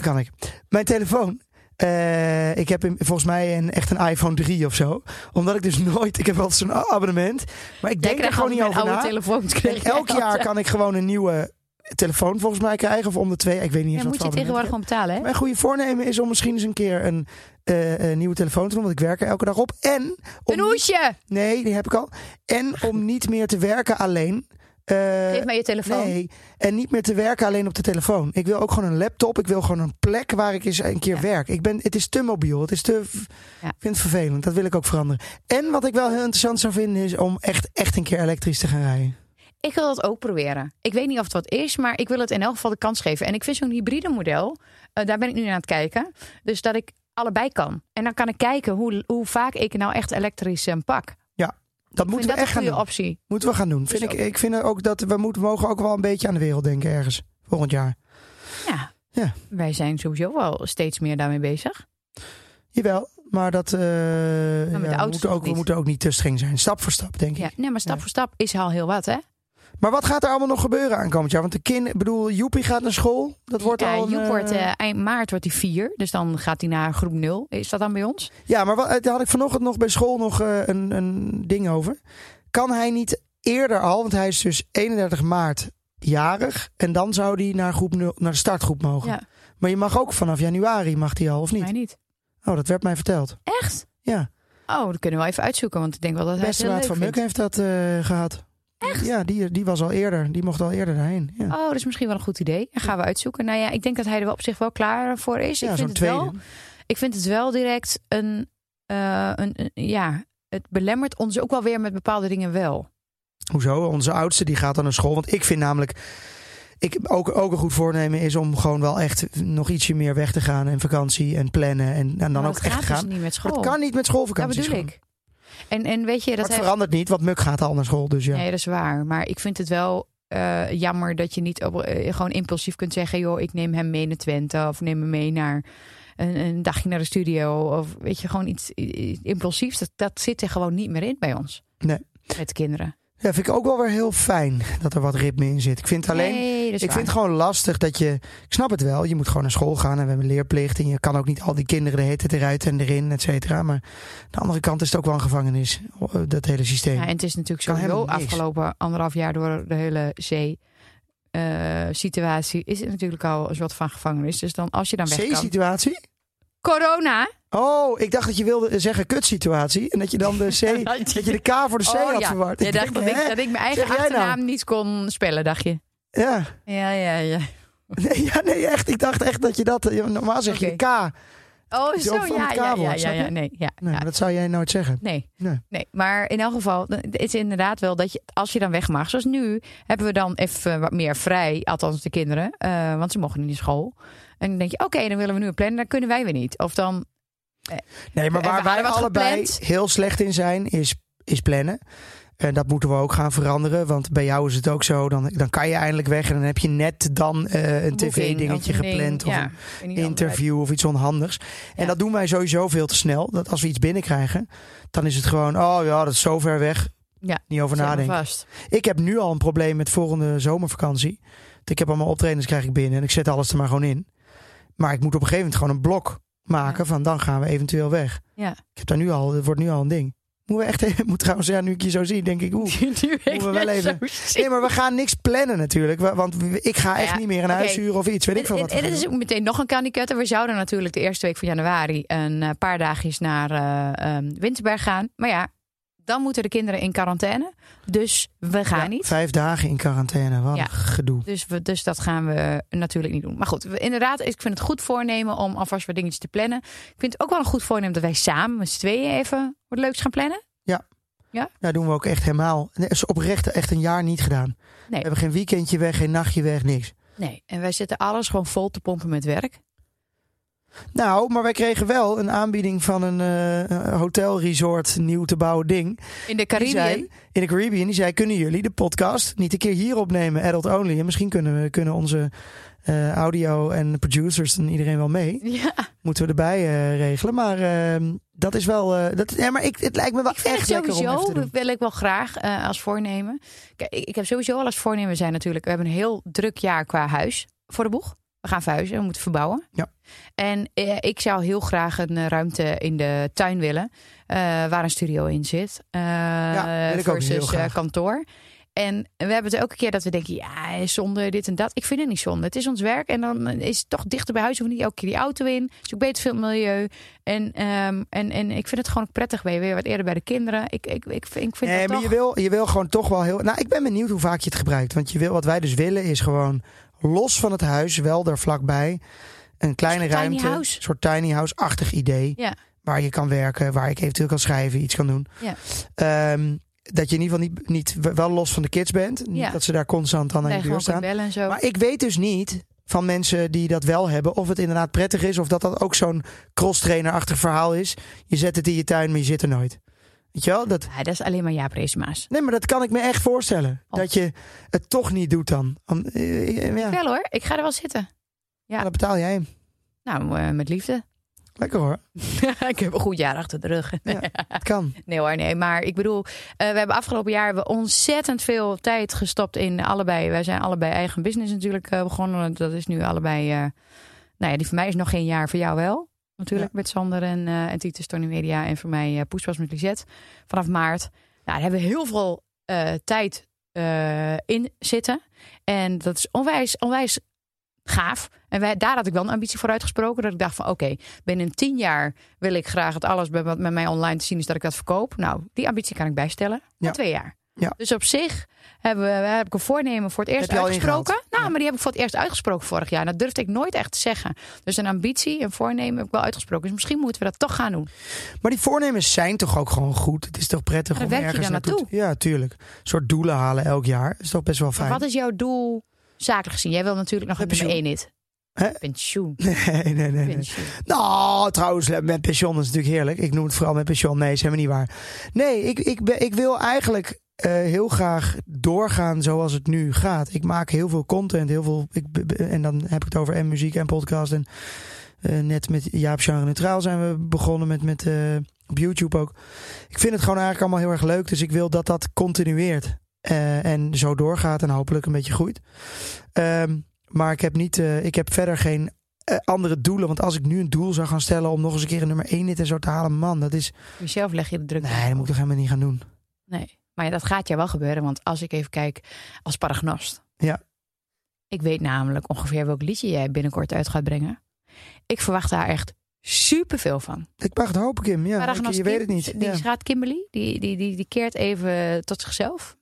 kan ik. Mijn telefoon. eh, ik heb hem volgens mij een, echt een iPhone 3 of zo. Omdat ik dus nooit. Ik heb wel zo'n a- abonnement. Maar ik
Jij
denk er
krijgt
gewoon
altijd
niet
mijn
over
oude
na.
telefoon.
En elk jaar
eh,
kan ik gewoon een nieuwe telefoon volgens mij krijgen. Of om de twee. Ik weet niet
Ja,
eens wat
moet je
voor abonnement
tegenwoordig
ik
gewoon betalen, hè?
heb. Mijn goede voornemen is om misschien eens een keer een, eh, een nieuwe telefoon te doen. Want ik werk er elke dag op. En om
Een hoesje!
Nee, die heb ik al. En om niet meer te werken alleen. Eh,
Geef mij je telefoon.
Nee, en niet meer te werken alleen op de telefoon. Ik wil ook gewoon een laptop. Ik wil gewoon een plek waar ik eens een keer
Ja.
werk. Ik ben, het is te mobiel. Het is te.
Ja.
Ik vind het vervelend. Dat wil ik ook veranderen. En wat ik wel heel interessant zou vinden is om echt, echt een keer elektrisch te gaan rijden.
Ik wil dat ook proberen. Ik weet niet of het wat is, maar ik wil het in elk geval de kans geven. En ik vind zo'n hybride model, eh, daar ben ik nu aan het kijken. Dus dat ik allebei kan. En dan kan ik kijken hoe, hoe vaak ik nou echt elektrisch eh, pak.
Ja. Dat
Ik
moeten
vind
we
dat
echt
een
gaan
goede
doen.
optie.
Moeten we gaan doen. Vind ik, ik vind ook dat we moeten, mogen ook wel een beetje aan de wereld denken ergens. Volgend jaar.
Ja.
Ja.
Wij zijn sowieso wel steeds meer daarmee bezig.
Jawel, maar dat. eh, ja,
de
we,
auto's
moeten
nog
ook, we
niet.
moeten ook niet te streng zijn. Stap voor stap, denk
Ja.
ik.
Nee, maar stap
Ja.
voor stap is al heel wat, hè?
Maar wat gaat er allemaal nog gebeuren aankomend jaar? Want de kind, ik bedoel, Joepie gaat naar school. Dat wordt
ja,
al. een,
Joep wordt
eh,
eh, eind maart wordt hij vier, dus dan gaat hij naar groep 0. Is dat dan bij ons?
Ja, maar wat, daar had ik vanochtend nog bij school nog eh, een, een ding over. Kan hij niet eerder al, want hij is dus 31 maart jarig. En dan zou hij naar, groep nul, naar de startgroep mogen.
Ja.
Maar je mag ook vanaf januari, mag hij al of niet?
Mij niet.
Oh, dat werd mij verteld.
Echt?
Ja,
Oh, dat kunnen we wel even uitzoeken, want ik denk wel dat hij het
beste
heel
raad
leuk
van
vindt.
Muk heeft dat eh, gehad. Echt? Ja, die, die was al eerder. Die mocht al eerder daarheen. Ja,
Oh, dat is misschien wel een goed idee. En gaan we uitzoeken. Nou ja, ik denk dat hij er wel op zich wel klaar voor is.
ja
dus ik, vind
zo'n
het
tweede.
wel, ik vind het wel direct een, eh, een, een- Ja, het belemmert ons ook wel weer met bepaalde dingen wel.
Hoezo? Onze oudste die gaat dan naar school. Want ik vind namelijk. Ik, ook, ook een goed voornemen is om gewoon wel echt nog ietsje meer weg te gaan. En vakantie en plannen. En, en dan
Maar
ook
dat
echt
gaat
gaan.
dus niet met school.
Maar het kan niet met
dat
schoolvakanties.
bedoel
gewoon.
ik. En, en weet je, dat
Maar het
hij...
verandert niet, want Muk gaat al naar school. Dus ja.
Nee, dat is waar. Maar ik vind het wel eh, jammer dat je niet op, eh, gewoon impulsief kunt zeggen... joh, ik neem hem mee naar Twente of neem hem mee naar een, een dagje naar de studio. Of weet je, gewoon iets, i- i- impulsiefs. Dat, dat zit er gewoon niet meer in bij ons.
Nee.
Met kinderen.
ja, vind ik ook wel weer heel fijn dat er wat ritme in zit. Ik vind alleen.
nee, dat is
Ik
waar.
vind het gewoon lastig dat je. Ik snap het wel, je moet gewoon naar school gaan en we hebben leerplicht. En je kan ook niet al die kinderen de hele tijd eruit en erin, et cetera. Maar aan de andere kant is het ook wel een gevangenis, eh, dat hele systeem.
Ja, en het is natuurlijk
Kan
sowieso
helemaal niks.
afgelopen anderhalf jaar door de hele zee. eh, situatie is het natuurlijk al een soort van gevangenis. Dus dan als je dan weg kan.
C-situatie?
Corona.
Oh, ik dacht dat je wilde zeggen kutsituatie. En dat je dan de C.
Dat je-
dat je de K voor de C had
Oh, ja.
verward.
Je
Ik
dacht dat
denk,
ik,
hè?
dat ik mijn eigen
Zeg jij nou?
achternaam niet kon spellen, dacht je?
Ja.
Ja, ja, ja.
Nee, ja, nee, echt. Ik dacht echt dat je dat. ja, Normaal zeg je de K.
Oh,
Is
zo,
ook van
ja,
het
ja,
kabel,
ja, ja,
snap
ja,
je?
nee, ja,
Nee,
ja.
maar dat zou jij nooit zeggen.
Nee.
Nee.
Nee, maar in elk geval, het is inderdaad wel dat je, als je dan weg mag, zoals nu, hebben we dan even wat meer vrij, althans de kinderen, eh, want ze mogen niet naar school. En dan denk je, oké, dan willen we nu een plannen, dan kunnen wij weer niet. Of dan,
Nee, maar
We
waar
hadden
wij
wat
allebei
gepland.
heel slecht in zijn, is, is plannen. En dat moeten we ook gaan veranderen. Want bij jou is het ook zo. Dan, dan kan je eindelijk weg. En dan heb je net dan eh, een
boeking of
tv-dingetje
een ding,
gepland. Of
ja,
een
ik weet niet wat.
interview of iets onhandigs. En
Ja.
dat doen wij sowieso veel te snel. Dat als we iets binnenkrijgen, dan is het gewoon... Oh ja, dat is zo ver weg.
Ja,
Niet over
Zet maar
nadenken.
vast.
Ik heb nu al een probleem met volgende zomervakantie. Want ik heb allemaal optredens krijg ik binnen en ik zet alles er maar gewoon in. Maar ik moet op een gegeven moment gewoon een blok maken van dan gaan we eventueel weg.
Ja.
Ik heb daar nu al, het wordt nu al een ding. Moeten we echt even, moet trouwens, ja, nu ik je zo zie, denk ik, oeh.
nu ik
we wel
net
even-
zo zie.
Nee, maar we gaan niks plannen natuurlijk. wa- Want we- ik ga echt
Ja,
niet meer een
oké.
huis huren of iets. Weet ik veel
En-
wat. we
en-
gaan
en het is
doen.
ook meteen nog een kandidat. We zouden natuurlijk de eerste week van januari een eh, paar dagjes naar eh, ehm, Winterberg gaan. Maar ja, dan moeten de kinderen in quarantaine. Dus we gaan
Ja,
niet.
Vijf dagen in quarantaine, wat
Ja.
een gedoe.
Dus, we, dus dat gaan we natuurlijk niet doen. Maar goed, we, inderdaad, ik vind het goed voornemen om alvast wat dingetjes te plannen. Ik vind het ook wel een goed voornemen dat wij samen met z'n tweeën even wat leuks gaan plannen.
Daar doen we ook echt helemaal. Nee, is oprecht echt een jaar niet gedaan. We hebben geen weekendje weg, geen nachtje weg, niks.
Nee, en wij zitten alles gewoon vol te pompen met werk.
Nou, maar wij kregen wel een aanbieding van een eh hotelresort, nieuw te bouwen ding.
In de
Die
Caribbean.
zei- in de Caribbean. Die zei, kunnen jullie de podcast niet een keer hier opnemen, adult only? En misschien kunnen, we, kunnen onze eh, audio en producers en iedereen wel mee.
Ja,
Moeten we erbij eh, regelen. Maar ehm, dat is wel... eh, dat, ja, maar ik, het lijkt me wel
ik vind
echt
het
lekker om even
sowieso,
te
dat
doen.
wil ik wel graag eh, als voornemen. Kijk, ik, ik heb sowieso al als voornemen zijn natuurlijk. We hebben een heel druk jaar qua huis voor de boeg. We gaan verhuizen, we moeten verbouwen.
Ja.
En eh, ik zou heel graag een eh, ruimte in de tuin willen. eh, waar een studio in zit. eh
Ja, wil ik ook heel
versus eh,
graag.
kantoor. En we hebben het elke keer dat we denken, ja, zonde dit en dat. Ik vind het niet zonde. Het is ons werk en dan is het toch dichter bij huis. Hoef je niet elke keer die auto in. Dus ook beter veel milieu. En, ehm, en, en ik vind het gewoon ook prettig. Ben je weer wat eerder bij de kinderen. Ik, ik, ik, vind- ik vind
Nee,
dat
maar
toch...
je wil, je wil gewoon toch wel heel... Nou, ik ben benieuwd hoe vaak je het gebruikt. Want je wil, wat wij dus willen is gewoon los van het huis, wel daar vlakbij... Een kleine
tiny
ruimte,
house.
een soort tiny house-achtig idee.
Ja.
waar je kan werken, waar ik eventueel kan schrijven, iets kan doen.
Ja.
Ehm, dat je in ieder geval niet, niet wel los van de kids bent. Niet
Ja.
Dat ze daar constant aan aan
Nee,
je
gewoon
deur
kunnen
staan.
bellen en zo.
Maar ik weet dus niet van mensen die dat wel hebben, of het inderdaad prettig is, of dat dat ook zo'n cross-trainer-achtig verhaal is. Je zet het in je tuin, maar je zit er nooit. Weet je wel? Dat,
Ja, dat is alleen maar Jaap Reesema's.
nee, maar dat kan ik me echt voorstellen.
Oh.
Dat je het toch niet doet dan. Om- eh, eh, ja,
Wel hoor, ik ga er wel zitten.
dan betaal jij hem.
Nou, eh, met liefde.
Lekker hoor.
ik heb een goed jaar achter de rug.
Het kan.
Nee hoor, nee. Maar ik bedoel, eh, we hebben afgelopen jaar hebben we ontzettend veel tijd gestopt in allebei. Wij zijn allebei eigen business natuurlijk eh, begonnen. Dat is nu allebei, eh, nou ja, die voor mij is nog geen jaar, voor jou wel. Natuurlijk met Sander en, eh en Titus Tony Media en voor mij eh Poespas met Lisette. Vanaf maart. Nou, daar hebben we heel veel eh, tijd eh, in zitten. En dat is onwijs, onwijs gaaf. En wij, daar had ik wel een ambitie voor uitgesproken. Dat ik dacht van oké, binnen tien jaar wil ik graag het alles bij- wat met mij online te zien is dat ik dat verkoop. Nou, die ambitie kan ik bijstellen. Na
Ja.
twee jaar.
Ja.
Dus op zich hebben we, heb ik een voornemen voor het eerst
Heb je al
uitgesproken.
ingehaald?
Nou,
Ja.
maar die heb ik voor het eerst uitgesproken vorig jaar. Dat durfde ik nooit echt te zeggen. Dus een ambitie, een voornemen heb ik wel uitgesproken. Dus misschien moeten we dat toch gaan doen.
Maar die voornemens zijn toch ook gewoon goed? Het is toch prettig
Maar
om
daar werk je
ergens
dan
naartoe te- Ja, tuurlijk. Een soort doelen halen elk jaar. is toch best wel
Maar
fijn.
wat is jouw doel zakelijk gezien? Jij wil natuurlijk nog een
Pensioen.
nummer één hit.
Hè?
Pensioen.
Nee, nee, nee. nee.
Pensioen.
Nou, trouwens, met pensioen is natuurlijk heerlijk. Ik noem het vooral met pensioen. Nee, is helemaal niet waar. Nee, ik, ik, ben, ik wil eigenlijk eh, heel graag doorgaan zoals het nu gaat. Ik maak heel veel content. Heel veel, ik, be- be- en dan heb ik het over en muziek en podcast. En eh, net met Jaap Genre Neutraal zijn we begonnen met, met eh, op YouTube ook. Ik vind het gewoon eigenlijk allemaal heel erg leuk. Dus ik wil dat dat continueert. Eh, en zo doorgaat en hopelijk een beetje groeit. Ehm, maar ik heb, niet, eh, ik heb verder geen eh, andere doelen. Want als ik nu een doel zou gaan stellen om nog eens een keer een nummer 1 dit en zo te halen, man, dat is.
Jezelf leg je de druk
Nee, dat moet ik toch helemaal niet gaan doen.
Nee, maar ja, dat gaat jou wel gebeuren. Want als ik even kijk als paragnost.
Ja.
Ik weet namelijk ongeveer welk liedje jij binnenkort uit gaat brengen. Ik verwacht daar echt superveel van.
Ik mag het hopen, Kim. Ja, ik-
Paragnost
je weet het
Kim,
niet.
Die
Ja.
gaat Kimberly, die, die, die, die keert even tot zichzelf.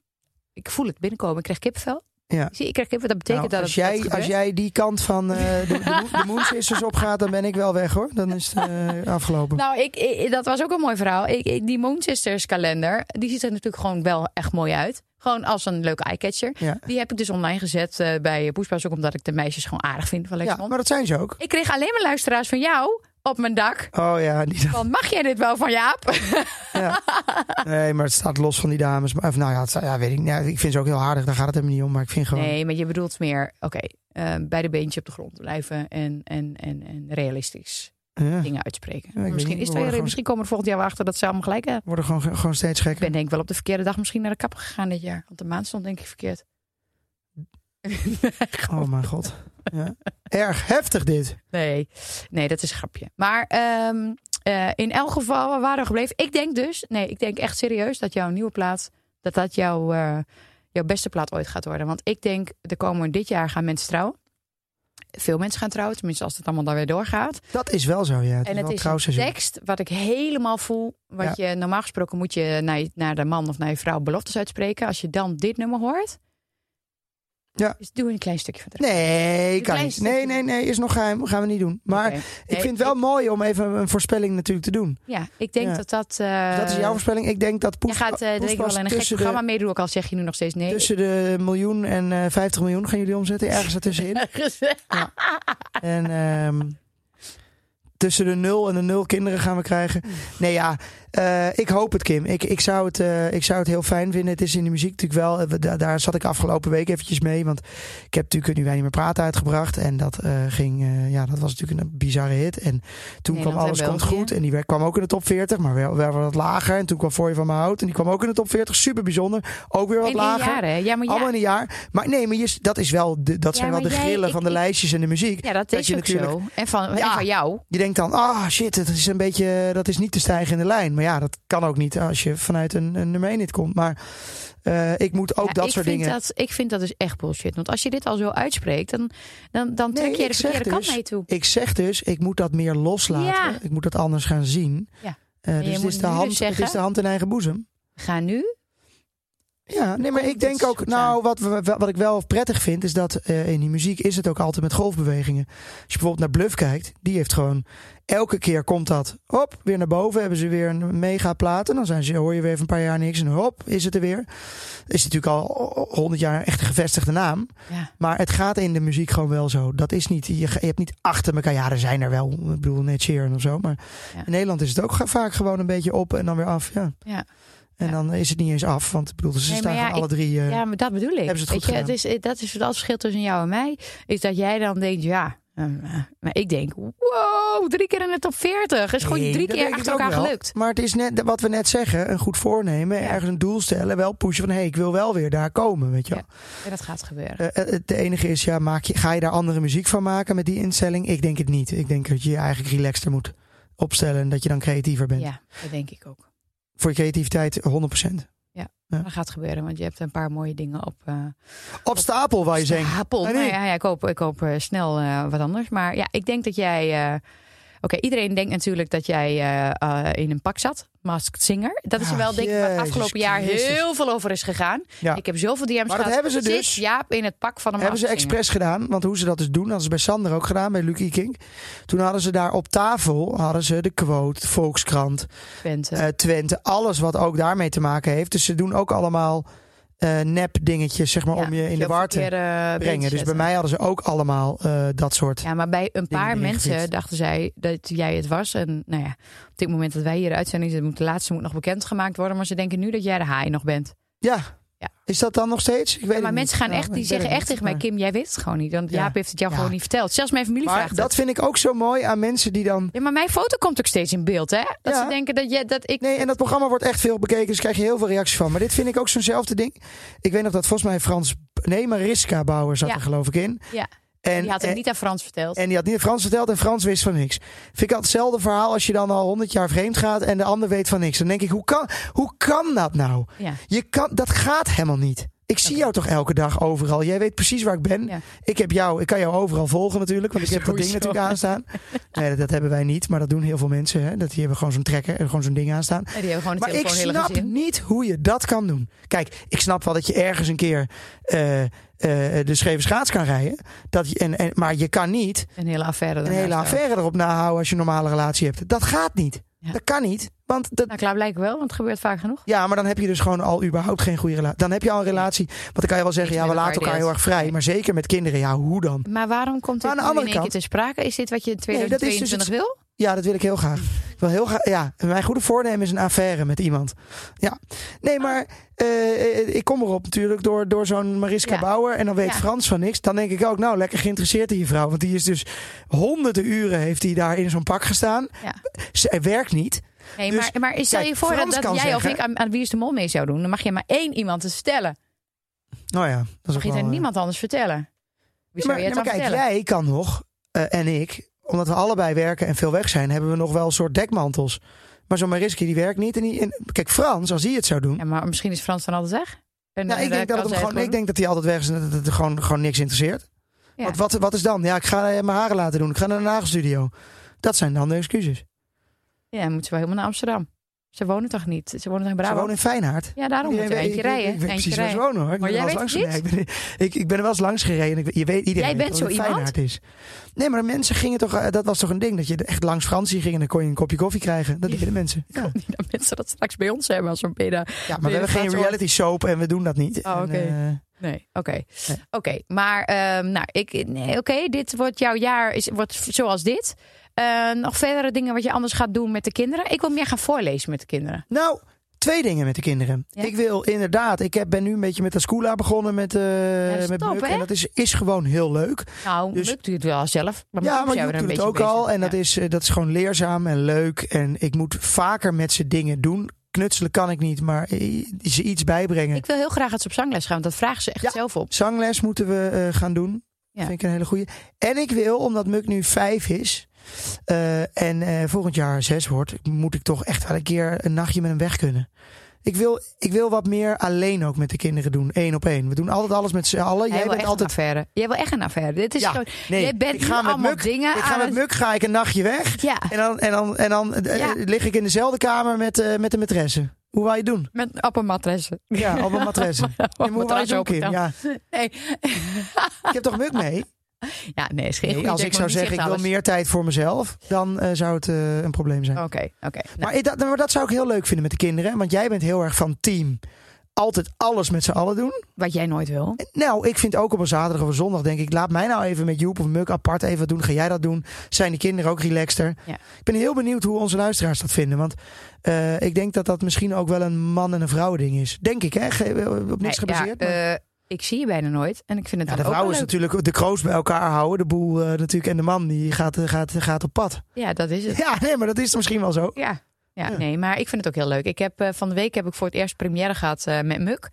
Ik voel het binnenkomen. Ik krijg kipvel.
Ja.
Zie, ik krijg kipvel. Dat betekent
Nou,
dat
als,
het- dat
jij,
het
als
gebeurt.
jij die kant van eh, de, de, Moon- de Moon Sisters opgaat, dan ben ik wel weg hoor. Dan is het eh, afgelopen.
Nou, ik, ik- dat was ook een mooi verhaal. Ik, ik- die Moon Sisters kalender, die ziet er natuurlijk gewoon wel echt mooi uit. Gewoon als een leuke eyecatcher.
Ja.
Die heb ik dus online gezet eh, bij Poespas. Ook omdat ik de meisjes gewoon aardig vind van
ja,
Lexmond.
maar dat zijn ze ook.
Ik kreeg alleen maar luisteraars van jou op mijn dak.
Oh ja, die,
Van, mag jij dit wel van Jaap?
ja. Nee, maar het staat los van die dames. Maar, of, nou ja, het staat- ja, weet ik, niet. ja, ik vind ze ook heel aardig. Daar gaat het helemaal niet om. Maar ik vind gewoon.
Nee, maar je bedoelt meer, oké, eh, bij de beentje op de grond blijven en, en, en, en realistisch
Ja,
dingen uitspreken.
weet
misschien,
niet,
is
we
het
worden
weer,
gewoon-
misschien komen we volgend jaar wel achter dat ze allemaal gelijk eh, hebben.
worden gewoon, gewoon steeds
Ik
gekker.
ben denk ik wel op de verkeerde dag misschien naar de kapper gegaan dit jaar. Want de maand stond denk ik verkeerd.
Oh mijn god. Ja. Erg heftig dit.
Nee, nee, dat is een grapje. Maar ehm, eh, in elk geval, we waren we gebleven. Ik denk dus, nee, ik denk echt serieus dat jouw nieuwe plaat, dat dat jouw, eh, jouw beste plaat ooit gaat worden. Want ik denk, er komen dit jaar gaan mensen trouwen. Veel mensen gaan trouwen, tenminste als het allemaal dan weer doorgaat.
Dat is wel zo, ja. Het is
en het
wel
is een
trouwseizoen.
tekst wat ik helemaal voel. Wat je normaal gesproken moet je naar, je- naar de man of naar je vrouw beloftes uitspreken. Als je dan dit nummer hoort,
Ja.
dus doe een klein stukje van terug.
Nee,
Een
kan
klein
niet. Nee,
stukje.
nee, nee, is nog geheim. Gaan we niet doen. Maar
Oké.
ik
Nee,
vind het wel mooi om even een voorspelling natuurlijk te doen.
Ja, ik denk
Ja.
dat dat. eh,
Dus dat is jouw voorspelling. Ik denk dat
Je
Poes,
gaat eh, denk
Poes
ik wel in een gek
tussen,
programma
de, Dus-
meedoen, ook al zeg je nu nog steeds nee.
tussen de miljoen en eh 50 miljoen gaan jullie omzetten. Ergens ertussenin. en ehm, tussen de nul en de nul kinderen gaan we krijgen. Nee, ja. eh, ik hoop het, Kim. Ik, ik, zou het, eh, ik zou het heel fijn vinden. Het is in de muziek natuurlijk wel. eh, we- da- daar zat ik afgelopen week eventjes mee. Want ik heb natuurlijk Nu Wij Niet Meer Praten uitgebracht. En dat, eh, ging, eh, ja, dat was natuurlijk een bizarre hit. En toen
Nederland
kwam
en
Alles Komt
België.
Goed. En die werd- kwam ook in de top 40. Maar wel, wel wat lager. En toen kwam Voor Je Van Me Houdt. En die kwam ook in de top 40. Super bijzonder. Ook weer wat
in één
lager.
jaar, hè? Ja, maar ja,
Allemaal in een jaar. Maar nee, maar je, dat, is wel de, dat
Ja,
zijn wel de
maar jij-
grillen
ik-
van de
ik-
lijstjes en de muziek.
ja, dat,
dat
is
je
ook zo.
natuurlijk-
En van, en
Ja.
van jou.
Je denkt dan, ah shit, dat is een beetje, dat is niet te stijgen in de lijn. Maar ja, dat kan ook niet als je vanuit een, een nummer 1 hit komt. Maar eh, ik moet ook
Ja,
dat
ik
soort
vind
dingen.
Dat, ik vind dat dus echt bullshit. Want als je dit al zo uitspreekt, dan, dan, dan
Nee,
trek je
ik
de
zeg
verkeerde kant
dus-
mee toe.
Ik zeg dus, ik moet dat meer loslaten.
Ja.
Ik moet dat anders gaan zien.
Ja.
Eh,
En je
dus het
moet
is,
nu
de
dus
hand, het
zeggen-
is de hand in eigen boezem.
Ga nu
Ja, nee, maar
Komt
ik denk
iets
ook,
goeds
nou,
aan.
wat, we- wat ik wel prettig vind, is dat eh, in die muziek is het ook altijd met golfbewegingen. Als je bijvoorbeeld naar Bluff kijkt, die heeft gewoon, elke keer komt dat, hop, weer naar boven, hebben ze weer een mega plaat en dan zijn ze, hoor je weer even een paar jaar niks en hop, is het er weer. Is natuurlijk al honderd jaar echt een gevestigde naam,
Ja.
maar het gaat in de muziek gewoon wel zo. Dat is niet, je, ga- je hebt niet achter elkaar, ja, er zijn er wel, ik bedoel, net Sheeran of zo, maar
Ja.
in Nederland is het ook ga- vaak gewoon een beetje op en dan weer af, ja.
Ja.
En
Ja.
dan is het niet eens af, want ik bedoel, ze
Nee, maar
staan
ja,
gewoon alle drie... eh,
Ja, maar dat bedoel ik.
Hebben ze het
Weet
goed
je, is, eh, dat is het verschil tussen jou en mij. Is dat jij dan denkt, ja. eh, Maar ik denk, wow, drie keer in de top 40. Is gewoon
Nee,
drie
dat
keer
denk ik
achter elkaar
ook wel.
gelukt.
Maar het is net wat we net zeggen: een goed voornemen, ergens een doel stellen, wel pushen van hé, hey, ik wil wel weer daar komen. Weet je wel.
En dat gaat gebeuren.
Eh, eh, het enige is, ja, maak je, ga je daar andere muziek van maken met die instelling? Ik denk het niet. Ik denk dat je je eigenlijk relaxter moet opstellen en dat je dan creatiever bent.
Ja, dat denk ik ook.
Voor je creativiteit 100%.
Dat gaat gebeuren, want je hebt een paar mooie dingen op. eh,
Op stapel, waar je denkt.
Stapel.
Nee,
Nou
nee.
ja, ja, ik hoop, ik hoop eh, snel eh, wat anders. Maar ja, ik denk dat jij. eh, Oké, iedereen denkt natuurlijk dat jij eh, eh, in een pak zat. Masked Singer. Dat is
Ja,
er wel, denk ik, waar het
Ah, Jezus
afgelopen jaar
Christus.
heel veel over is gegaan.
Ja.
Ik heb zoveel DM's
dat
gehad.
hebben ze
Zit
dus-
Jaap in het pak van een
Hebben ze
Masked Singer?
expres gedaan, want hoe ze dat dus doen, hadden ze bij Sander ook gedaan, bij Lucky King. Toen hadden ze daar op tafel, hadden ze de quote, Volkskrant,
Bent, eh,
eh, Twente, alles wat ook daarmee te maken heeft. Dus ze doen ook allemaal eh, nep dingetjes, zeg maar,
ja,
eh, om je in de
op
war te
verkeerde been
brengen. Dus bij
zetten.
mij hadden ze ook allemaal eh, dat soort.
Ja, maar bij een paar
erin
mensen
gefietst.
dachten zij dat jij het was. En nou ja, op dit moment dat wij hier de uitzending zitten, moet de laatste moet nog bekendgemaakt worden. Maar ze denken nu dat jij de haai nog bent.
Ja.
Ja.
Is dat dan nog steeds? Ik weet
maar
het
mensen
niet.
gaan
Ja,
echt, die
ik weet
zeggen
het
echt
niet,
tegen mij,
maar-
Kim, jij wist het gewoon niet. Want
Ja.
Jaap heeft het jou
Ja.
gewoon niet verteld. Zelfs mijn familie
Maar
vraagt
dat
het.
vind ik ook zo mooi aan mensen die dan.
Ja, maar mijn foto komt ook steeds in beeld, hè? Dat
Ja.
ze denken dat, jij, dat ik...
Nee, en dat programma wordt echt veel bekeken, dus krijg je heel veel reacties van. Maar dit vind ik ook zo'nzelfde ding. Ik weet nog dat volgens mij Frans. Nee, Mariska Bauer zat
Ja.
er geloof ik in.
Ja,
En,
die had het
en-
niet aan Frans verteld.
En die had niet in Frans verteld en Frans wist van niks. Vind ik al hetzelfde verhaal als je dan al 100 jaar vreemd gaat en de ander weet van niks. Dan denk ik, hoe kan, hoe kan dat nou?
Ja.
Je kan, dat gaat helemaal niet. Ik zie jou toch elke dag overal. Jij weet precies waar ik ben.
Ja.
Ik heb jou, ik kan jou overal volgen natuurlijk, want ik heb dat ding
Sowieso.
natuurlijk aanstaan. Nee, dat, dat hebben wij niet, maar dat doen heel veel mensen. Hè? Dat die hebben gewoon zo'n trekker, eh, gewoon zo'n ding aanstaan.
En die hebben gewoon de
Maar ik
telefoon heel erg
snap
gezien.
niet hoe je dat kan doen. Kijk, ik snap wel dat je ergens een keer eh, eh, de scheve schaats kan rijden. Dat je, en, en, maar je kan niet
Een hele affaire.
een
daarnaast
hele
ook.
affaire erop nahouden als je een normale relatie hebt. Dat gaat niet.
Ja.
Dat kan niet. Want dat,
Nou, klaar blijkt wel, want het gebeurt vaak genoeg.
ja, maar dan heb je dus gewoon al überhaupt geen goede relatie. Dan heb je al een relatie. Want dan kan je wel zeggen,
Niks
ja, we
met
laten
elkaar
elkaar heel
deelt.
erg vrij. Maar zeker met kinderen, ja, hoe dan?
Maar waarom komt
Maar
dit
aan de
nu in
andere
één keer
kant-
te sprake? Is dit wat je in
Nee, dat is dus
2022 wil?
Ja, dat wil ik heel graag. Ik wil heel graag ja, mijn goede voornemen is een affaire met iemand. Ja. Nee, maar eh, ik kom erop natuurlijk door, door zo'n Mariska
Ja.
Bauer. En dan weet
Ja.
Frans van niks. Dan denk ik ook, nou, lekker geïnteresseerd in je vrouw. Want die is dus honderden uren heeft die daar in zo'n pak gestaan.
Ja.
Zij werkt niet.
Nee,
Dus,
maar, maar stel
kijk,
je voor dat,
Frans
dat
kan
jij of
zeggen-
ik aan, aan Wie is de Mol mee zou doen. Dan mag je maar één iemand het vertellen.
Nou ja, dat is ook
Mag je het
wel,
aan
eh,
niemand anders vertellen. Wie
maar,
zou je het
nee,
dan
maar kijk,
vertellen?
jij kan nog, eh, en ik, omdat we allebei werken en veel weg zijn, hebben we nog wel een soort dekmantels. Maar zo'n Mariski die werkt niet. En die, en, kijk, Frans, als hij het zou doen.
Ja, maar misschien is Frans dan altijd weg. En,
nou,
eh,
ik, denk
kan
dat het
zij
hem gewoon,
het
ik denk dat hij altijd weg is en dat het er gewoon, gewoon niks interesseert.
Ja.
Want wat, wat is dan? Ja, ik ga eh, mijn haren laten doen. Ik ga naar een nagelstudio. Dat zijn dan de excuses.
Ja, dan moeten ze wel helemaal naar Amsterdam. Ze wonen toch niet? Ze wonen toch in
Ze
Brabant?
wonen in Feyenoord.
Ja, daarom
Iedereen
moeten we
weet-
eentje
ik- ik-
rijden.
Ik, weet
eentje
precies
rijden.
waar ze wonen hoor. Ik
Maar
ben er
jij
wel eens
weet
langs
het
gereden. ik, ben, ik, ik ben er wel eens langs gereden. en Ik, je weet, iedereen
Jij
weet dat het
bent zo iemand?
Feyenoord is. Nee, maar de mensen gingen toch... eh, Dat was toch een ding? Dat je echt langs Fransie ging en dan kon je een kopje koffie krijgen. Dat deden mensen. Ja,
Ik hoop niet dat mensen dat straks bij ons hebben als een peda.
Ja, maar we hebben geen reality soap en we doen dat niet.
Oh,
En,
oké.
eh,
Nee, oké.
Nee.
Oké, maar ehm, nou, ik, nee, oké, dit wordt jouw jaar is, wordt v- zoals dit. Eh, nog verdere dingen wat je anders gaat doen met de kinderen. Ik wil meer gaan voorlezen met de kinderen.
Nou, twee dingen met de kinderen.
Ja?
Ik wil inderdaad, ik heb, ben nu een beetje met Ascula begonnen met, eh
Ja, dat is
met
top,
Muk.
hè?
En dat is, is gewoon heel leuk.
Nou,
Dus-
dus, doet het wel zelf. Maar
ja,
Mick
maar
zou
Joep doet
er een
het
beetje
ook
mee
al.
zijn.
En dat,
Ja.
is, eh, dat is gewoon leerzaam en leuk. En ik moet vaker met ze dingen doen. Knutselen kan ik niet, maar eh, ze iets bijbrengen.
Ik wil heel graag dat ze op zangles gaan, want dat vragen ze echt
Ja.
zelf op.
Zangles moeten we eh, gaan doen.
Ja.
Vind ik een hele goeie. En ik wil, omdat Muk nu vijf is eh, en eh, volgend jaar zes wordt, moet ik toch echt wel een keer een nachtje met hem weg kunnen. Ik wil, ik wil wat meer alleen ook met de kinderen doen. één op één. We doen altijd alles met z'n allen.
Jij
Oh, Jij
wil
bent
echt
altijd.
een affaire. Jij wil echt een affaire. Dit is
Ja,
gewoon,
nee,
jij bent
ik ga
nu
met
allemaal
Muk-
dingen
Ik ga
aan
met
het-
Muk ga ik een nachtje weg.
Ja.
En dan, en dan, en dan eh,
Ja.
lig ik in dezelfde kamer met, eh, met de maîtresse. Hoe wou je het doen?
Met appelmatressen.
Ja, op een matres. En hoe wou je
Matras
het doen, Kim?
open
Ja,
Nee.
ik heb toch muk mee?
ja, nee, is geen
Nee,
goede
als
tip,
ik zou
maar niet
zeggen, ik wil
echt alles.
meer tijd voor mezelf, dan eh, zou het eh, een probleem zijn.
Oké, oké. Nou,
Maar, ik- dat, maar dat zou ik heel leuk vinden met de kinderen. Want jij bent heel erg van team. Altijd alles met z'n allen doen.
Wat jij nooit wil.
En Nou, ik vind ook op een zaterdag of een zondag, denk ik, laat mij nou even met Joep of Muk apart even wat doen. Ga jij dat doen? Zijn de kinderen ook relaxter?
Ja.
Ik ben heel benieuwd hoe onze luisteraars dat vinden. Want eh, ik denk dat dat misschien ook wel een man- en een vrouw ding is. Denk ik, hè? Ge- eh, Op niks
Nee, ja,
gebaseerd. maar-
eh, ik zie je bijna nooit. En ik vind het
Ja,
dan
de
ook
vrouw
wel
is
leuk.
natuurlijk de kroos bij elkaar houden, de boel eh, natuurlijk. En de man die gaat, eh, gaat, gaat op pad.
Ja, dat is het.
Ja, nee, maar dat is misschien wel zo.
Ja. Ja,
Ja.
nee, maar ik vind het ook heel leuk. Ik heb, eh, van de week heb ik voor het eerst première gehad eh, met Muk.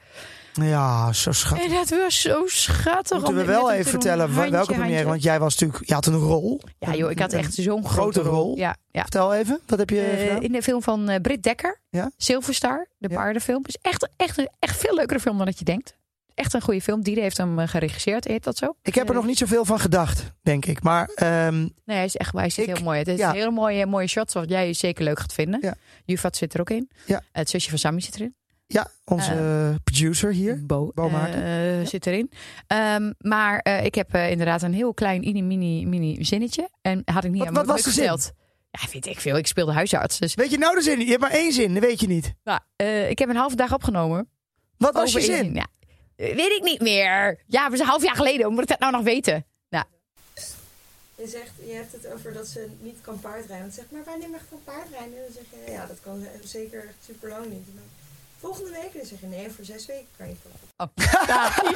Ja, zo schat.
En dat was zo schattig.
Moeten
om
we
met
wel
hem te
even
doen.
vertellen wa-
Handje,
welke première?
handje.
Want jij was natuurlijk, je had een rol.
Ja joh, ik had
Een-
echt zo'n grote,
grote rol.
Ja, ja.
Vertel even, wat heb je
Eh,
gedaan?
in de film van eh Britt Dekker,
Ja?
Silver Star, de
Ja.
paardenfilm. Is echt, echt, een- echt veel leukere film dan dat je denkt. Echt een goede film. Die heeft hem eh, geregisseerd, heet dat zo?
Ik heb er nog niet zoveel van gedacht, denk ik. Maar ehm,
Nee, hij is echt hij ziet
Ik-
heel mooi. uit. Het is
ja.
een hele mooie, mooie shots wat jij zeker leuk gaat vinden.
Ja.
Jufat zit er ook in.
Ja.
Het zusje van Sammy zit erin.
ja, onze eh, producer hier.
Bo,
Bo Maarten.
eh, zit erin. Ehm, maar eh, ik heb eh, inderdaad een heel klein, mini, mini, mini zinnetje. En had ik niet
Wat-
aan
wat
mijn
was
druk
de zin?
gesteld. Ja, weet ik veel. Ik speelde huisarts. Dus
Weet je nou de zin? niet? Je hebt maar één zin, dat weet je niet.
nou, eh, ik heb een halve dag opgenomen.
Wat was je
Over
zin?
inzien. Ja, eh, weet ik niet meer. Ja, maar is een half jaar geleden. Hoe moet ik dat nou nog weten? Nou,
Je, zegt, je hebt het over dat ze niet kan paardrijden. Want ze zegt, maar wanneer mag ik kan paardrijden? En dan zeg je, ja, dat kan ze- eh, zeker super lang niet. En dan, volgende week? En dan zeg je, nee, voor zes weken kan je pas.
Oh. mooi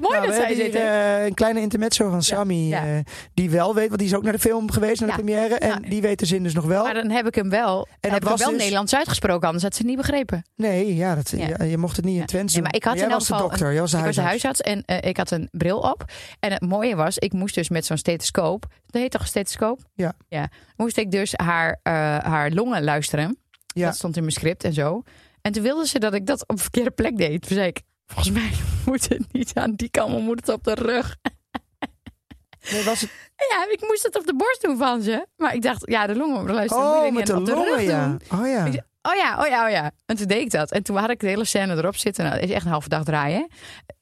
Nou,
Oh, dat
we
zij
hebben
zit.
hier,
hè?
eh, een kleine intermezzo van Sammy.
ja.
eh, die wel weet, want die is ook naar de film geweest, naar de
Ja.
première. En
Ja.
die weet de zin dus nog wel.
Maar dan heb ik hem wel,
dat
heb ik hem
was
wel
dus-
Nederlands uitgesproken. Anders had ze het niet begrepen.
Nee, ja, dat,
Ja.
ja, je mocht het niet in
Ja.
Twents
Nee,
doen.
maar ik had
jij
in elk
was de
geval
dokter, jij was de
ik was de
huisarts.
huisarts en eh, ik had een bril op. En het mooie was, ik moest dus met zo'n stethoscoop. Dat heet toch een stethoscoop?
Ja.
ja. Moest ik dus haar, eh, haar longen luisteren.
Ja.
Dat stond in mijn script en zo. En toen wilde ze dat ik dat op de verkeerde plek deed. Toen zei ik, volgens mij moet het niet aan die kant, maar moet het op de rug.
Nee, was het...
Ja, ik moest het op de borst doen van ze. Maar ik dacht, ja, de longen luisteren moet
Oh,
je
met
dingen
de
op de
longen,
rug doen.
ja. Oh ja.
Ik zei, Oh ja, oh ja, oh ja. En toen deed ik dat. En toen had ik de hele scène erop zitten. Nou, dat is echt een halve dag draaien.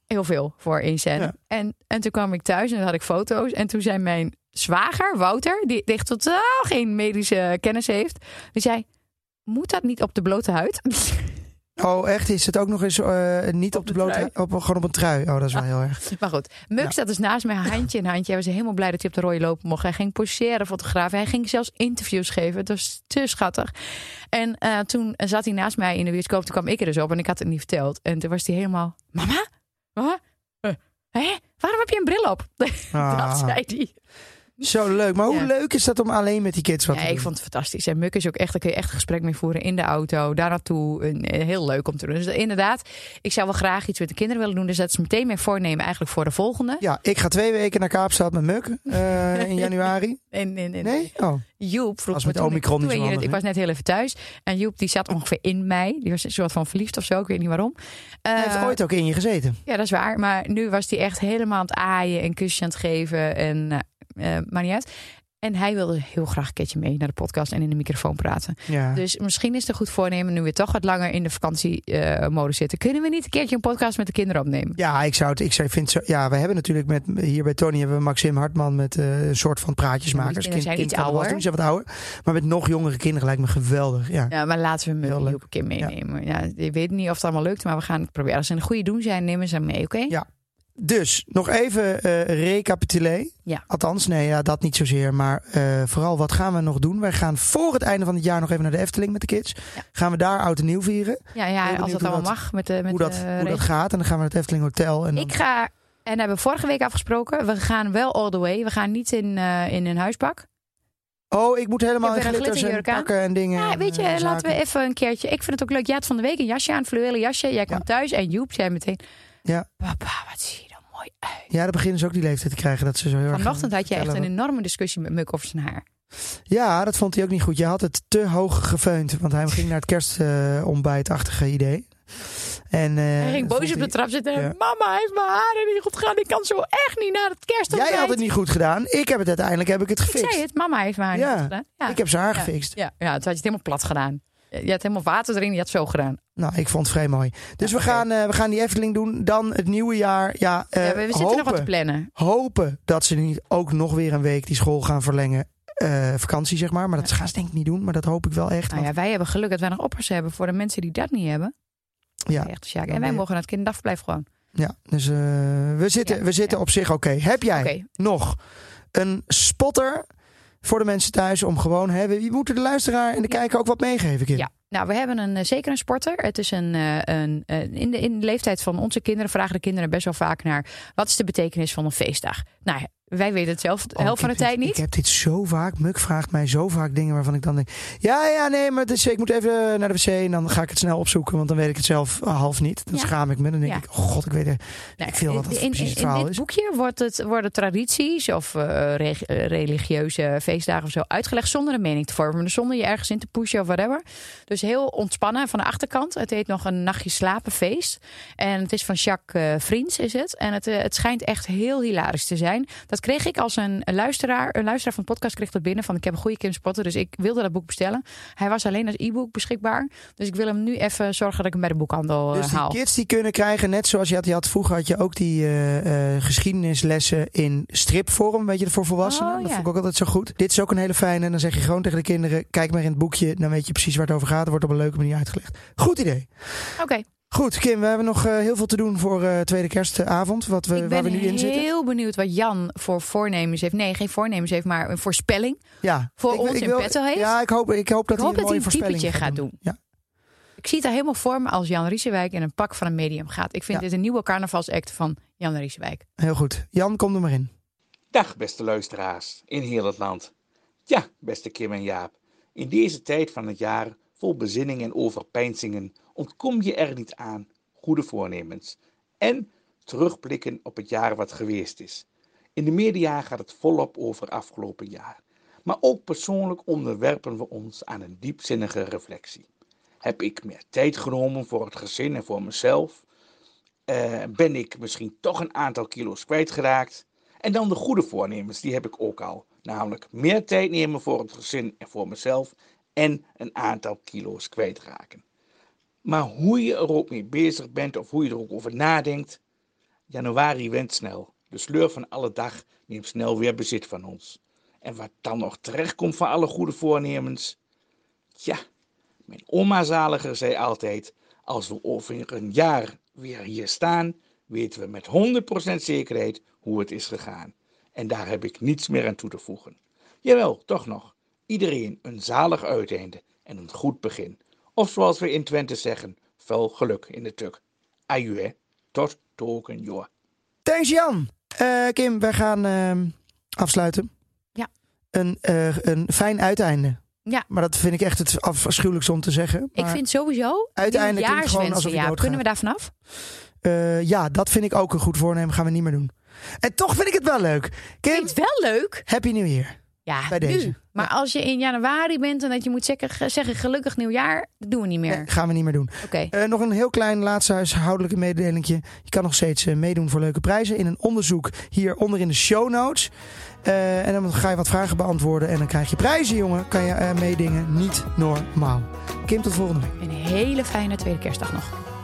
Heel veel voor één scène.
Ja.
En, en toen kwam ik thuis en dan had ik foto's. En toen zei mijn zwager, Wouter, die echt totaal geen medische kennis heeft. Die zei, moet dat niet op de blote huid?
Oh, echt? Is het ook nog eens eh, niet op, de
de
blote... Op, gewoon op een trui? Oh, dat is wel heel erg.
maar goed, Muk
Ja.
zat dus naast mij, handje in handje. Hij was helemaal blij dat hij op de rode lopen mocht. Hij ging poseren, fotograaf. Hij ging zelfs interviews geven. Het was te schattig. En eh, toen zat hij naast mij in de bioscoop. Toen kwam ik er dus op en ik had het niet verteld. En toen was hij helemaal, mama? Mama? Eh, Hé, waarom heb je een bril op?
Ah.
Dat zei hij.
Zo leuk. Maar hoe
Ja.
leuk is dat om alleen met die kids wat
Ja,
te
ik
doen?
vond het fantastisch. En Muk is ook echt, daar kun je echt een gesprek mee voeren in de auto, daar naartoe. En, eh, heel leuk om te doen. Dus inderdaad, ik zou wel graag iets met de kinderen willen doen. Dus dat is meteen mijn voornemen eigenlijk voor de volgende.
Ja, ik ga twee weken naar Kaapstad met Muk eh, in januari.
En, en, en-
Nee? Oh,
Joep vroeg
Als
me
met
toen ik-
Omicron
toen
is het
hier-
handig,
Ik
hè?
was net heel even thuis. En Joep die zat ongeveer in mij. Die was een soort van verliefd of zo. Ik weet niet waarom.
hij heeft
Eh,
ooit ook in je gezeten.
Ja, dat is waar. Maar nu was hij echt helemaal aan het aaien en kusjes aan het geven. En eh eh, maar niet uit. En hij wilde heel graag een keertje mee naar de podcast en in de microfoon praten.
Ja.
Dus misschien is het een goed voornemen nu we toch wat langer in de vakantiemodus zitten. Kunnen we niet een keertje een podcast met de kinderen opnemen?
Ja, ik zou het. Ik zou, vind zo, ja, we hebben natuurlijk met hier bij Tony hebben we Maxim Hartman met eh, een soort van praatjesmakers.
Ja, die kinderen zijn iets
van de was
ouder.
Toen zijn wat ouder. Maar met nog jongere kinderen lijkt me geweldig. Ja.
Ja, maar laten we
Heel
hem
leuk.
Joep een keer meenemen. Ja. ik weet niet of het allemaal lukt, maar we gaan het proberen. Als ze een goede doen zijn, nemen ze hem mee, oké?
Ja. Dus nog even eh recapitulé.
Ja.
Althans, nee, ja, dat niet zozeer. Maar eh, vooral wat gaan we nog doen? Wij gaan voor het einde van het jaar nog even naar de Efteling met de kids.
Ja.
Gaan we daar oud en nieuw vieren?
Ja,
Heel
ja als
benieuwd
dat
hoe
allemaal
dat-
mag met de met
hoe dat,
de
hoe dat
regels.
gaat. En dan gaan we naar het Efteling Hotel. En dan,
Ik ga, en dat hebben we vorige week afgesproken, we gaan wel all the way. We gaan niet in, eh, in een huispak.
oh, ik moet helemaal
Ik
in
heb weer een
glitters en
glitterjurk aan.
pakken en dingen.
Ja,
en,
weet je,
eh,
laten
zaken.
we even een keertje. Ik vind het ook leuk. Jij had van de week een jasje aan, een fluwelen jasje. Jij kwam
Ja.
thuis en Joep zei meteen...
Ja.
Papa, wat zie je er mooi uit.
Ja, dan beginnen ze ook die leeftijd te krijgen. Dat ze zo heel erg gaan
Vanochtend had je echt
vertellen
een enorme discussie met Muk over zijn haar.
Ja, dat vond hij ook niet goed. Je had het te hoog gefeund. Want hij ging naar het kerstontbijtachtige idee. En, eh,
hij ging
dat
boos op
vond
de trap zitten. en
ja.
Mama, hij heeft mijn haren niet goed gedaan. Ik kan zo echt niet naar het
hij-
kerstontbijt.
Jij had het niet goed gedaan. Ik heb het uiteindelijk heb ik het
Ik
gefixt.
zei het, mama heeft mijn haar
Ja.
niet goed gedaan. Ja.
Ik heb zijn haar gefixt.
ja, ja, toen had je het helemaal plat gedaan. Je had helemaal water erin, je had zo gedaan.
Nou, ik vond het vrij mooi. Dus we,
oké.
gaan, eh, we gaan die Efteling doen. Dan het nieuwe jaar. Ja, eh,
ja, we, we zitten
hopen,
nog wat te plannen.
hopen dat ze niet ook nog weer een week die school gaan verlengen. Eh, vakantie, zeg maar. Maar dat gaan ze denk ik niet doen. Maar dat hoop ik wel echt.
Nou ja,
want-
wij hebben geluk dat wij nog oppers hebben voor de mensen die dat niet hebben.
ja.
Echt, Sjaak. En
Dan
wij
ben je-
mogen naar het kinderdagverblijf gewoon.
Ja, dus eh, we zitten,
Ja,
we zitten
ja.
op zich oké. Heb jij
Oké.
nog een spotter voor de mensen thuis om gewoon... Hè, we- je moet de luisteraar en de kijker ook wat meegeven, Kim.
Ja, nou, we hebben een, eh, zeker een sporter. Het is een, eh, een, eh, in, de, in de leeftijd van onze kinderen vragen de kinderen best wel vaak naar... wat is de betekenis van een feestdag? Nou, wij weten het zelf de
Oh,
helft van de
ik heb
tijd
dit-
niet.
Ik heb dit zo vaak. Muk vraagt mij zo vaak dingen waarvan ik dan denk... Ja, ja, nee, maar het is, ik moet even naar de wc en dan ga ik het snel opzoeken. Want dan weet ik het zelf eh, half niet. Dan
Ja.
schaam ik me. Dan denk
Ja.
ik, oh god, ik weet er
Nou,
ik veel wat dat
in, in,
precies het
in
verhaal
dit
is.
boekje wordt het, worden tradities of eh, reg- eh, religieuze feestdagen of zo uitgelegd zonder een mening te vormen. Dus zonder je ergens in te pushen of whatever. Dus heel ontspannen van de achterkant. Het heet nog een nachtje slapenfeest. En het is van Jacques eh, Vriends is het. En het, eh, het schijnt echt heel hilarisch te zijn. Dat kreeg ik als een luisteraar. Een luisteraar van de podcast kreeg dat binnen van ik heb een goede Kim Spotter. Dus ik wilde dat boek bestellen. Hij was alleen als e-book beschikbaar. Dus ik wil hem nu even zorgen dat ik hem bij de boekhandel eh,
Dus die
haal.
kids die kunnen krijgen, net zoals je had, je had vroeger had je ook die eh, eh, geschiedenislessen in stripvorm, weet je, voor volwassenen.
Oh,
Dat
ja.
vond ik ook altijd zo goed. Dit is ook een hele fijne. En dan zeg je gewoon tegen de kinderen, kijk maar in het boekje, dan weet je precies waar het over gaat. Het wordt op een leuke manier uitgelegd. Goed idee.
Oké.
Goed, Kim, we hebben nog eh, heel veel te doen voor eh, tweede kerstavond, wat we,
ik
eh, waar
ben
we nu in zitten.
heel benieuwd wat Jan voor voornemens heeft. Nee, geen voornemens heeft, maar een voorspelling.
Ja.
voor ons in petto heeft.
Ja, ik hoop, ik hoop dat
Ik
hij een
hoop dat hij
mooie
een
voorspelling
typetje gaat doen.
Ja.
Ik zie het daar helemaal voor me als Jan Riesewijk in een pak van een medium gaat. Ik vind
Ja.
dit een nieuwe carnavalsact van Jan Riesewijk.
Heel goed. Jan, kom er maar in.
Dag beste luisteraars in heel het land. Ja, beste Kim en Jaap, in deze tijd van het jaar vol bezinning en overpeinzingen ontkom je er niet aan goede voornemens en terugblikken op het jaar wat geweest is. In de media gaat het volop over afgelopen jaar, maar ook persoonlijk onderwerpen we ons aan een diepzinnige reflectie. Heb ik meer tijd genomen voor het gezin en voor mezelf? Eh, ben ik misschien toch een aantal kilo's kwijtgeraakt? En dan de goede voornemens, die heb ik ook al. Namelijk meer tijd nemen voor het gezin en voor mezelf en een aantal kilo's kwijtraken. Maar hoe je er ook mee bezig bent of hoe je er ook over nadenkt, januari went snel. De sleur van alle dag neemt snel weer bezit van ons. En wat dan nog terechtkomt van alle goede voornemens? Tja, mijn oma zaliger zei altijd, als we over een jaar weer hier staan, weten we met 100% zekerheid hoe het is gegaan. En daar heb ik niets meer aan toe te voegen. Jawel, toch nog. Iedereen een zalig uiteinde en een goed begin. Of zoals we in Twente zeggen, veel geluk in de tuk. Aju hè, tot token joh.
Thanks Jan. Eh, Kim, wij gaan ehm, afsluiten.
Ja.
Een, eh, een fijn uiteinde.
Ja.
Maar dat vind ik echt het afschuwelijkste om te zeggen.
ik
Maar,
vind sowieso
Uiteindelijk klinkt het gewoon
nieuwjaarswensen,
alsof je
Jaap.
doodgaat.
Kunnen we daar vanaf?
eh, ja, dat vind ik ook een goed voornemen. Gaan we niet meer doen. En toch vind ik het wel leuk. Kim,
Klinkt wel leuk.
happy new year.
Ja,
Bij deze.
nu. Maar als je in januari bent en dat je moet zeggen, zeggen gelukkig nieuwjaar, dat doen we niet meer.
Nee, gaan we niet meer doen.
Oké.
Eh, nog een heel klein laatste huishoudelijke mededelingje. Je kan nog steeds eh, meedoen voor leuke prijzen in een onderzoek hieronder in de show notes. Eh, en dan ga je wat vragen beantwoorden en dan krijg je prijzen, jongen. Kan je eh, meedingen. Niet normaal. Kim, tot volgende week.
Een hele fijne tweede kerstdag nog.